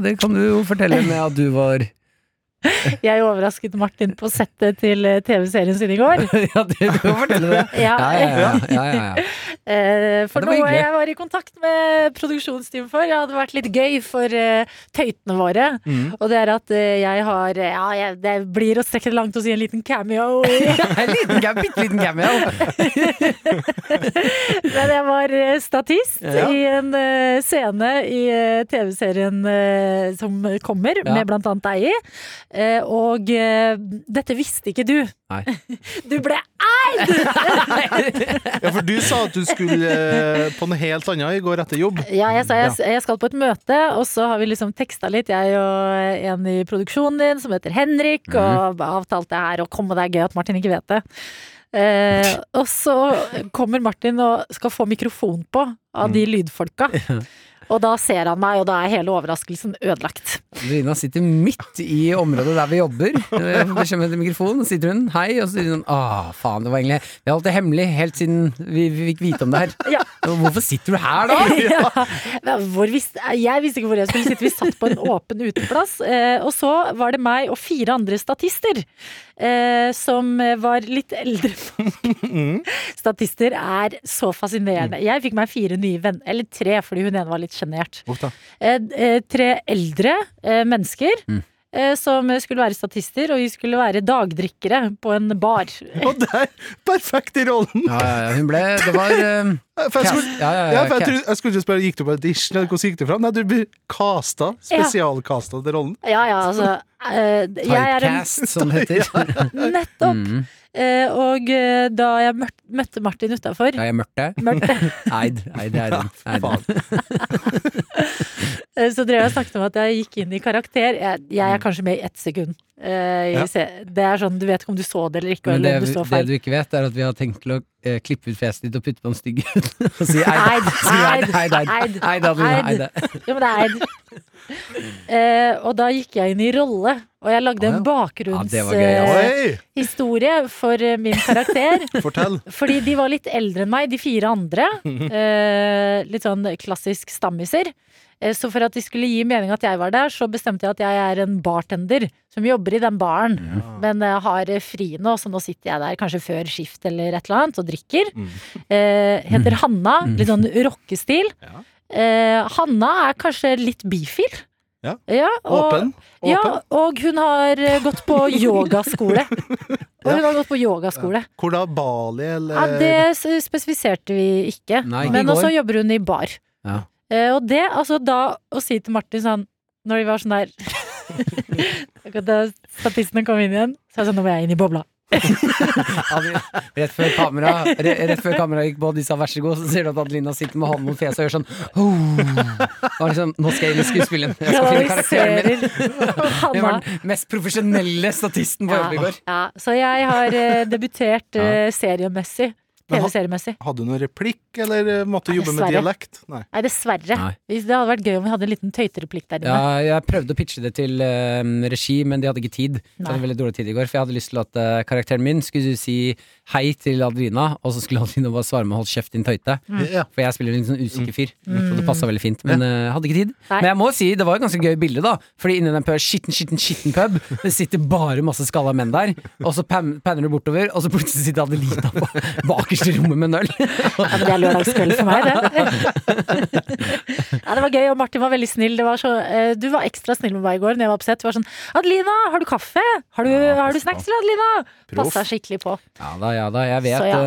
S4: det kan du jo fortelle med at du var (laughs)
S2: Jeg overrasket Martin på settet til eh, TV-serien sin i går.
S4: Ja, det kan du fortelle det.
S2: Ja,
S4: Ja, ja, ja. ja, ja, ja.
S2: eh, For
S4: Det var
S2: noe
S4: hyggelig.
S2: jeg var i kontakt med produksjonsteamet for. Det hadde vært litt gøy for eh, tøytene våre.
S5: Mm.
S2: Og det er at eh, jeg har eh, Ja, jeg, det blir å strekke det langt å si en liten cameo. (laughs) i-
S4: (laughs) En liten, cam- bitte liten cameo.
S2: Men jeg var eh, statist
S4: Ja.
S2: i en eh, scene i eh, TV-serien eh, som kommer,
S4: Ja.
S2: med blant annet deg i. Eh, og eh, dette visste ikke du.
S4: Nei.
S2: (laughs) Du ble
S4: (laughs)
S2: (laughs)
S5: Ja, for du sa at du skulle eh, på noe helt annet i går etter jobb.
S2: Ja, jeg sa jeg, jeg skal på et møte, og så har vi liksom teksta litt, jeg og en i produksjonen din som heter Henrik, og avtalt det her, og kom, og det er gøy at Martin ikke vet det. Eh, og så kommer Martin og skal få mikrofon på av de lydfolka. Og da ser han meg, og da er hele overraskelsen ødelagt.
S4: Adelina sitter midt i området der vi jobber. Eh, Det kommer en mikrofon, og sitter hun hei, og så sier hun ah, faen, det var egentlig Vi har holdt det hemmelig helt siden vi vi fikk vite om det her.
S2: Ja.
S4: Og Hvorfor sitter du her da?
S2: (laughs) Ja. Men Hvor visste, jeg visste ikke hvor jeg skulle sitte. Vi satt på en åpen uteplass. eh, Og så var det meg og fire andre statister eh, som eh, var litt eldre folk. Statister er så fascinerende. Jeg fikk meg fire nye venner, eller tre, fordi hun ene var litt sjenert.
S5: Uff da.
S2: Eh, eh, Tre eldre eh, mennesker. eh, Som skulle være statister, og vi skulle være dagdrikkere på en bar.
S5: Og der, perfekt i rollen!
S4: Ja, ja, ja, hun ble Det var eh,
S5: For jeg skulle,
S4: Ja, ja, ja,
S5: ja, for jeg,
S4: Eh, ok.
S5: trodde- jeg skulle ikke spørre gikk du på audition, eller hvordan gikk du fram? Nei, du blir casta. Spesialcasta til rollen.
S2: Ja ja, altså. eh, Jeg er en
S4: typecast, som det heter.
S2: (laughs) Nettopp!
S4: Mm.
S2: Eh, og eh, da jeg mørt- møtte Martin utafor (laughs)
S4: Ja, jeg er mørkt, jeg. Eid, eid, eid. eid.
S2: eh, Så drev jeg og snakket om at jeg gikk inn i karakter. Jeg, jeg
S4: Mm.
S2: er kanskje med i ett sekund. Eh, i
S5: Ja.
S2: se- Det er sånn, Du vet ikke om du så det eller ikke,
S4: Men det,
S2: eller om du så
S4: det
S2: feil.
S4: du ikke vet, er at vi har tenkt til å eh, klippe ut fjeset ditt og putte på en stygg hund. (laughs) Og si eid,
S2: Eid,
S4: Si eid, eid, eid.
S2: eid,
S4: Eid, Adelina,
S2: eid.
S4: eid.
S2: Jo, men det er Eid.
S4: (laughs)
S2: Eh, og da gikk jeg inn i rolle, og jeg lagde en
S4: Ja, det var gøy, ja.
S2: bakgrunnshistorie
S5: Oi!
S2: for eh, min karakter.
S5: Fortell.
S2: Fordi de var litt eldre enn meg, de fire
S5: (laughs)
S2: andre. Eh, litt sånn klassisk stammiser. Eh, så for at de skulle gi mening at jeg var der, så bestemte jeg at jeg er en bartender som jobber i den baren, men eh, har eh, fri nå, så nå sitter jeg der kanskje før skift eller et eller annet og drikker.
S5: Mm.
S2: Eh, heter Hanna. Litt sånn rockestil. Eh, Hanna er kanskje litt bifil.
S5: Ja.
S2: (laughs) og-
S5: Åpen.
S2: Ja,
S5: Åpen.
S2: og hun har eh, gått på
S5: (laughs)
S2: yogaskole. Og hun har gått på yogaskole.
S5: Hvor da? Bali, eller?
S2: Ja, det s- spesifiserte vi ikke.
S4: Nei, ikke i
S2: men
S4: går.
S2: også jobber hun i bar.
S4: Ja.
S2: Eh, og det, altså da å si til Martin sånn Når de var sånn der (laughs) Akkurat Da statistene kom inn igjen, så er jeg sånn Nå må jeg inn i bobla.
S4: Adelina, Rett før kamera re, Rett før kamera gikk på, og de sa vær så god, så ser du at Adelina sitter med hånden mot fjeset og gjør sånn oh. Og liksom, Nå skal jeg inn i skuespillen. Jeg skal finne karakteren min. (laughs)
S2: Kanaliserer
S4: Jeg
S2: Hanna.
S4: var den mest profesjonelle statisten på jobb i
S2: Ja,
S4: går.
S2: ja, så jeg har eh, debutert eh, seriemessig.
S5: Men han-
S2: TV-seriemessig.
S5: Hadde du noen replikk, eller eh, måtte du jobbe med
S2: Dessverre.
S5: dialekt? Nei.
S2: Nei, dessverre.
S4: Nei.
S2: Hvis- Det hadde vært gøy om vi hadde en liten tøytereplikk der
S4: Ja,
S2: inne.
S4: jeg prøvde å pitche det til eh, regi, men de hadde ikke tid. Så jeg
S2: Nei.
S4: hadde veldig dårlig tid i går For jeg hadde lyst til at eh, karakteren min skulle si hei til Adelina, og så skulle Adelina bare svare med 'hold kjeft, din tøyte'.
S2: Mm.
S5: Ja.
S4: For jeg spiller en litt sånn usikker fyr, så det passa veldig fint. Men eh, hadde ikke tid.
S2: Nei.
S4: Men jeg må si, det var et ganske gøy bilde, da. Fordi inni den pø- skitten, skitten, skitten pub, det sitter bare masse skalla menn der. Og så pan- panner du bortover, og så plutselig sitter Adelina på bakerst bakerste rommet med en øl.
S2: Ja, men det er lørdagskveld for meg, det. ja, det var gøy, og Martin var veldig snill. Det var så, eh, du var ekstra snill med meg i går når jeg var på sett. Du var sånn 'Adelina, har du kaffe? Har du,
S4: Ja,
S2: har du
S4: pass på.
S2: snacks til Adelina?'
S5: Proff.
S2: Passa skikkelig på.
S4: Ja da, ja da. Jeg vet
S2: Så ja.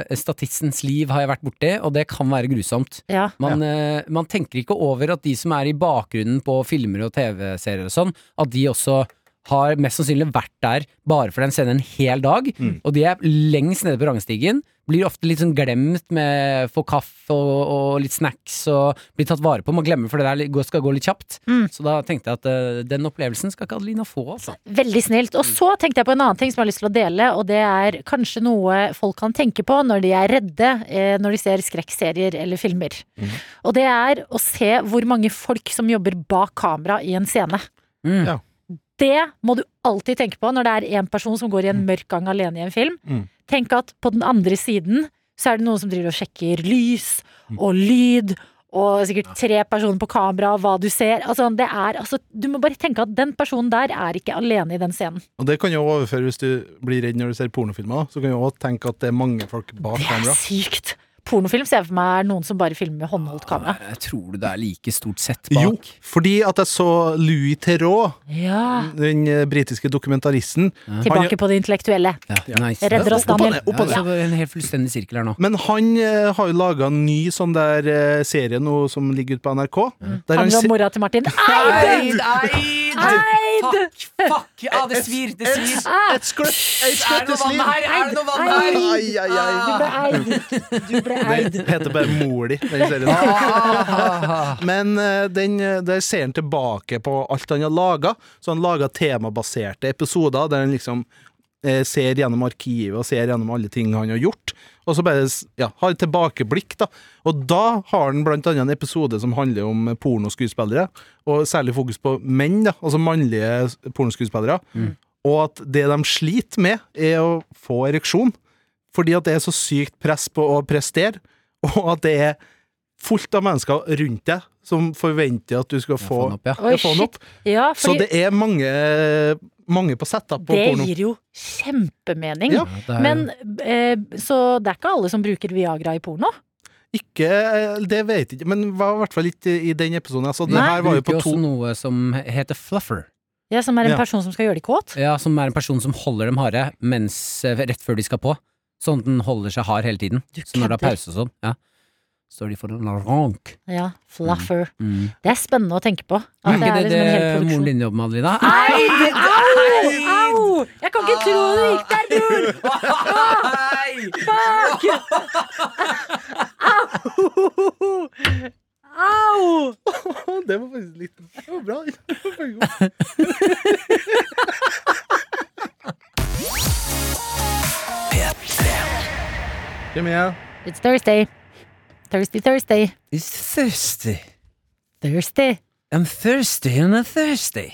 S4: eh, statistens liv har jeg vært borti, og det kan være grusomt.
S2: Ja.
S4: Man, eh, man tenker ikke over at de som er i bakgrunnen på filmer og TV-serier og sånn, at de også har mest sannsynlig vært der bare for den scenen en hel dag.
S5: Mm.
S4: Og de er lengst nede på rangstigen. Blir ofte litt sånn glemt med få kaffe og, og litt snacks og blir tatt vare på. Man glemmer for det der går- skal gå litt kjapt.
S2: Mm.
S4: Så da tenkte jeg at eh, den opplevelsen skal ikke Adelina få, altså.
S2: Veldig snilt. Og så tenkte jeg på en annen ting som jeg har lyst til å dele, og det er kanskje noe folk kan tenke på når de er redde eh, når de ser skrekkserier eller filmer.
S4: Mhm.
S2: Og det er å se hvor mange folk som jobber bak kamera i en scene.
S4: Mm.
S5: Ja.
S2: Det må du alltid tenke på når det er en person som går i en mørk gang alene i en film.
S5: Mm.
S2: Tenk at på den andre siden så er det noen som driver og sjekker lys og lyd. Og sikkert tre personer på kamera, hva du ser. Altså, det er, altså, du må bare tenke at den personen der er ikke alene i den scenen.
S5: Og det kan jo overføre hvis du blir redd når du ser pornofilmer. da. Så kan du også tenke at det er mange folk bak
S2: Det er
S5: kamera.
S2: sykt! Pornofilm ser jeg for meg er noen som bare filmer med håndholdt kamera.
S4: Jeg tror du det er like stort sett bak.
S5: Jo, fordi at jeg så Louis Theroux,
S2: Ja.
S5: den eh, britiske dokumentaristen. Han,
S2: Tilbake på det intellektuelle.
S4: Ja, nice.
S2: Redder oss,
S5: Opp og
S2: Daniel.
S5: ned, opp og
S4: Ja, så det er en helt fullstendig sirkel her nå.
S5: men han eh, har jo laga en ny sånn der eh, serie nå som ligger ute på NRK. Der han
S2: Handler om
S5: se-
S2: mora til Martin. Eid! Eid!
S4: Fuck! Ja, det svir, det svir!
S2: Ah,
S5: Et skløtt, et skvettesliv!
S2: Er det noe vann her?
S5: Ai, ai,
S2: Du
S5: ai.
S2: ble eid! Du ble eid.
S5: Det heter bare mor di, den serien. Men eh, den, eh, der ser han tilbake på alt han har laga. Så han laga temabaserte episoder der han liksom eh, ser gjennom arkivet og ser gjennom alle ting han har gjort. Og så bare s- ja, har et tilbakeblikk, da. Og da har han blant annet en episode som handler om eh, pornoskuespillere, og særlig fokus på menn, da, altså mannlige s- pornoskuespillere. Og at det de sliter med, er å få ereksjon. Fordi at det er så sykt press på å prestere, (laughs) og at det er fullt av mennesker rundt deg som forventer at du skal få
S4: Få den opp, ja.
S2: Oi,
S5: Jeg får den
S2: shit. Ja,
S5: Så
S2: fordi
S5: det er mange, mange på sett da, på
S2: det
S5: porno.
S2: gir jo kjempemening.
S5: Ja.
S4: Ja, det er
S2: Men
S4: jo-
S2: eh, Så det er ikke alle som bruker Viagra i porno?
S5: Ikke Det vet jeg ikke, men var i hvert fall ikke i den episoden. Altså, det
S2: Nei.
S5: her var jo på
S4: bruker
S5: to
S4: også noe som heter fluffer.
S2: Ja, som er en
S5: Ja.
S2: person som skal gjøre deg kåt?
S4: Ja, som er en person som holder dem harde mens, eh, rett før de skal på. Sånn at den holder seg hard hele tiden.
S2: Du
S4: Så når det er
S2: kødder.
S4: pause og sånn, ja. Står de for en rank.
S2: Ja, fluffer.
S4: Mm.
S2: Det er spennende å tenke på.
S4: Er
S2: At det er
S4: ikke det
S2: liksom en hel
S4: det eh, moren
S2: produksjon. Ah,
S4: din jobber med, Adelina?
S2: Nei, det- au! Au! Jeg kan ikke tro du gikk der, bror! Fuck! Au! Au!
S5: Det var faktisk litt det var bra. Hvem er jeg?
S2: It's Thursday. Thursday, Thursday.
S4: It's thirsty.
S2: Thursday.
S4: I'm thirsty on a Thursday.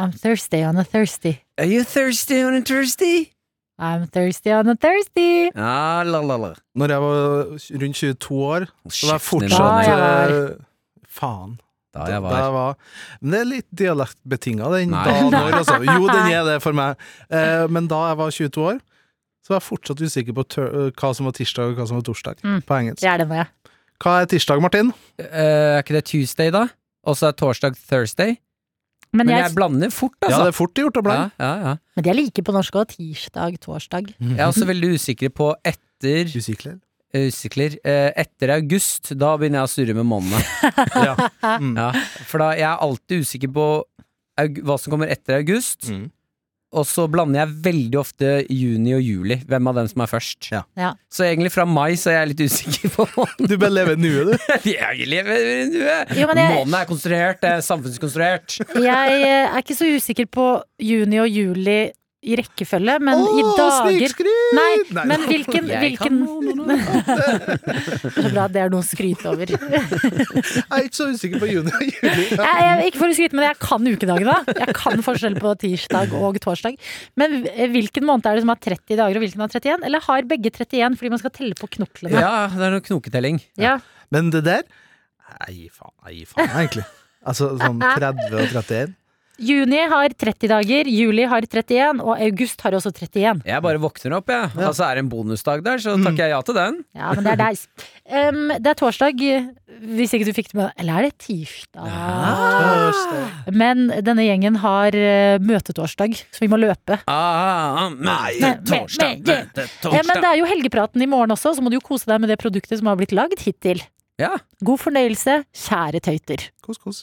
S2: I'm thirsty on a Thursday.
S4: Are you thirsty on a Thursday?
S2: I'm thirsty on a Thursday.
S4: Ah, la, la, la.
S5: Når jeg var rundt 22 år, så var jeg
S4: Kjeften din,
S5: fortsatt
S2: Da jeg
S5: eh, Faen.
S4: Da jeg
S5: Da
S4: var
S5: jeg var. Men det er litt dialektbetinga, den
S4: Nei.
S5: dagen og
S2: (laughs)
S5: år, altså. Jo, den er det for meg. Eh, men da jeg var 22 år, så var jeg fortsatt usikker på tør hva som var tirsdag og hva som var torsdag.
S2: Mm.
S5: På engelsk.
S2: Det er det med.
S5: Hva er tirsdag, Martin?
S4: Eh, Er ikke det Tuesday, da? Og så er torsdag Thursday.
S2: Men
S4: Men jeg
S2: jeg,
S4: blander fort,
S5: Ja,
S4: altså.
S5: det er fort gjort å
S4: Ja,
S5: blande.
S4: ja, ja.
S2: men jeg liker på norsk òg. Tirsdag, torsdag.
S4: Jeg er også veldig usikker på etter
S5: Usikler.
S4: Usikker. Eh, Etter august, da begynner jeg å surre med månedene.
S5: Ja. Mm.
S4: Ja, for da jeg er alltid usikker på aug- hva som kommer etter august.
S5: Mm.
S4: Og så blander jeg veldig ofte juni og juli. Hvem av dem som er først.
S5: Ja.
S2: Ja.
S4: Så egentlig fra mai så er jeg litt usikker på (laughs) måneden.
S5: Du bare lever nuet, du.
S4: Jeg lever i nuet.
S2: Jo, men jeg-
S4: Månen er konstruert, det er samfunnskonstruert.
S2: Jeg eh, er ikke så usikker på juni og juli i rekkefølge, men i dager
S5: snikskryt!
S2: Nei,
S5: Nei,
S2: men hvilken,
S4: Jeg kan
S2: hvilken... Så bra, det er noe å skryte (laughs) over. Jeg,
S5: (laughs) Jeg er ikke så usikker på juni og juli.
S2: jeg, ikke for å skryte, men jeg kan ukedagene. Jeg kan forskjell på tirsdag og torsdag. Men eh, hvilken måned er det som har 30 dager, og hvilken har 31? Eller har begge 31 fordi man skal telle på knoklene?
S4: Ja, det er noe knoketelling.
S2: Ja. (laughs)
S5: Men det der Nei, faen, nei, faen, egentlig. Altså sånn 30 og 31.
S2: Juni har 30 dager, juli har 31, og august har også 31.
S4: Jeg bare våkner opp, jeg.
S5: Ja.
S4: Og så er det en bonusdag der, så takker jeg ja til den.
S2: Ja, men det er deg. Em, det er torsdag, hvis ikke du fikk det med deg. Eller er det tirsdag? Ah. Men denne gjengen har eh, møtetorsdag, så vi må løpe.
S4: Ah,
S2: Nei,
S4: møte
S2: men- men- Ja, men det er jo helgepraten i morgen også, så må du jo kose deg med det produktet som har blitt lagd hittil.
S4: Ja.
S2: God fornøyelse, kjære tøyter.
S5: Kos, kos.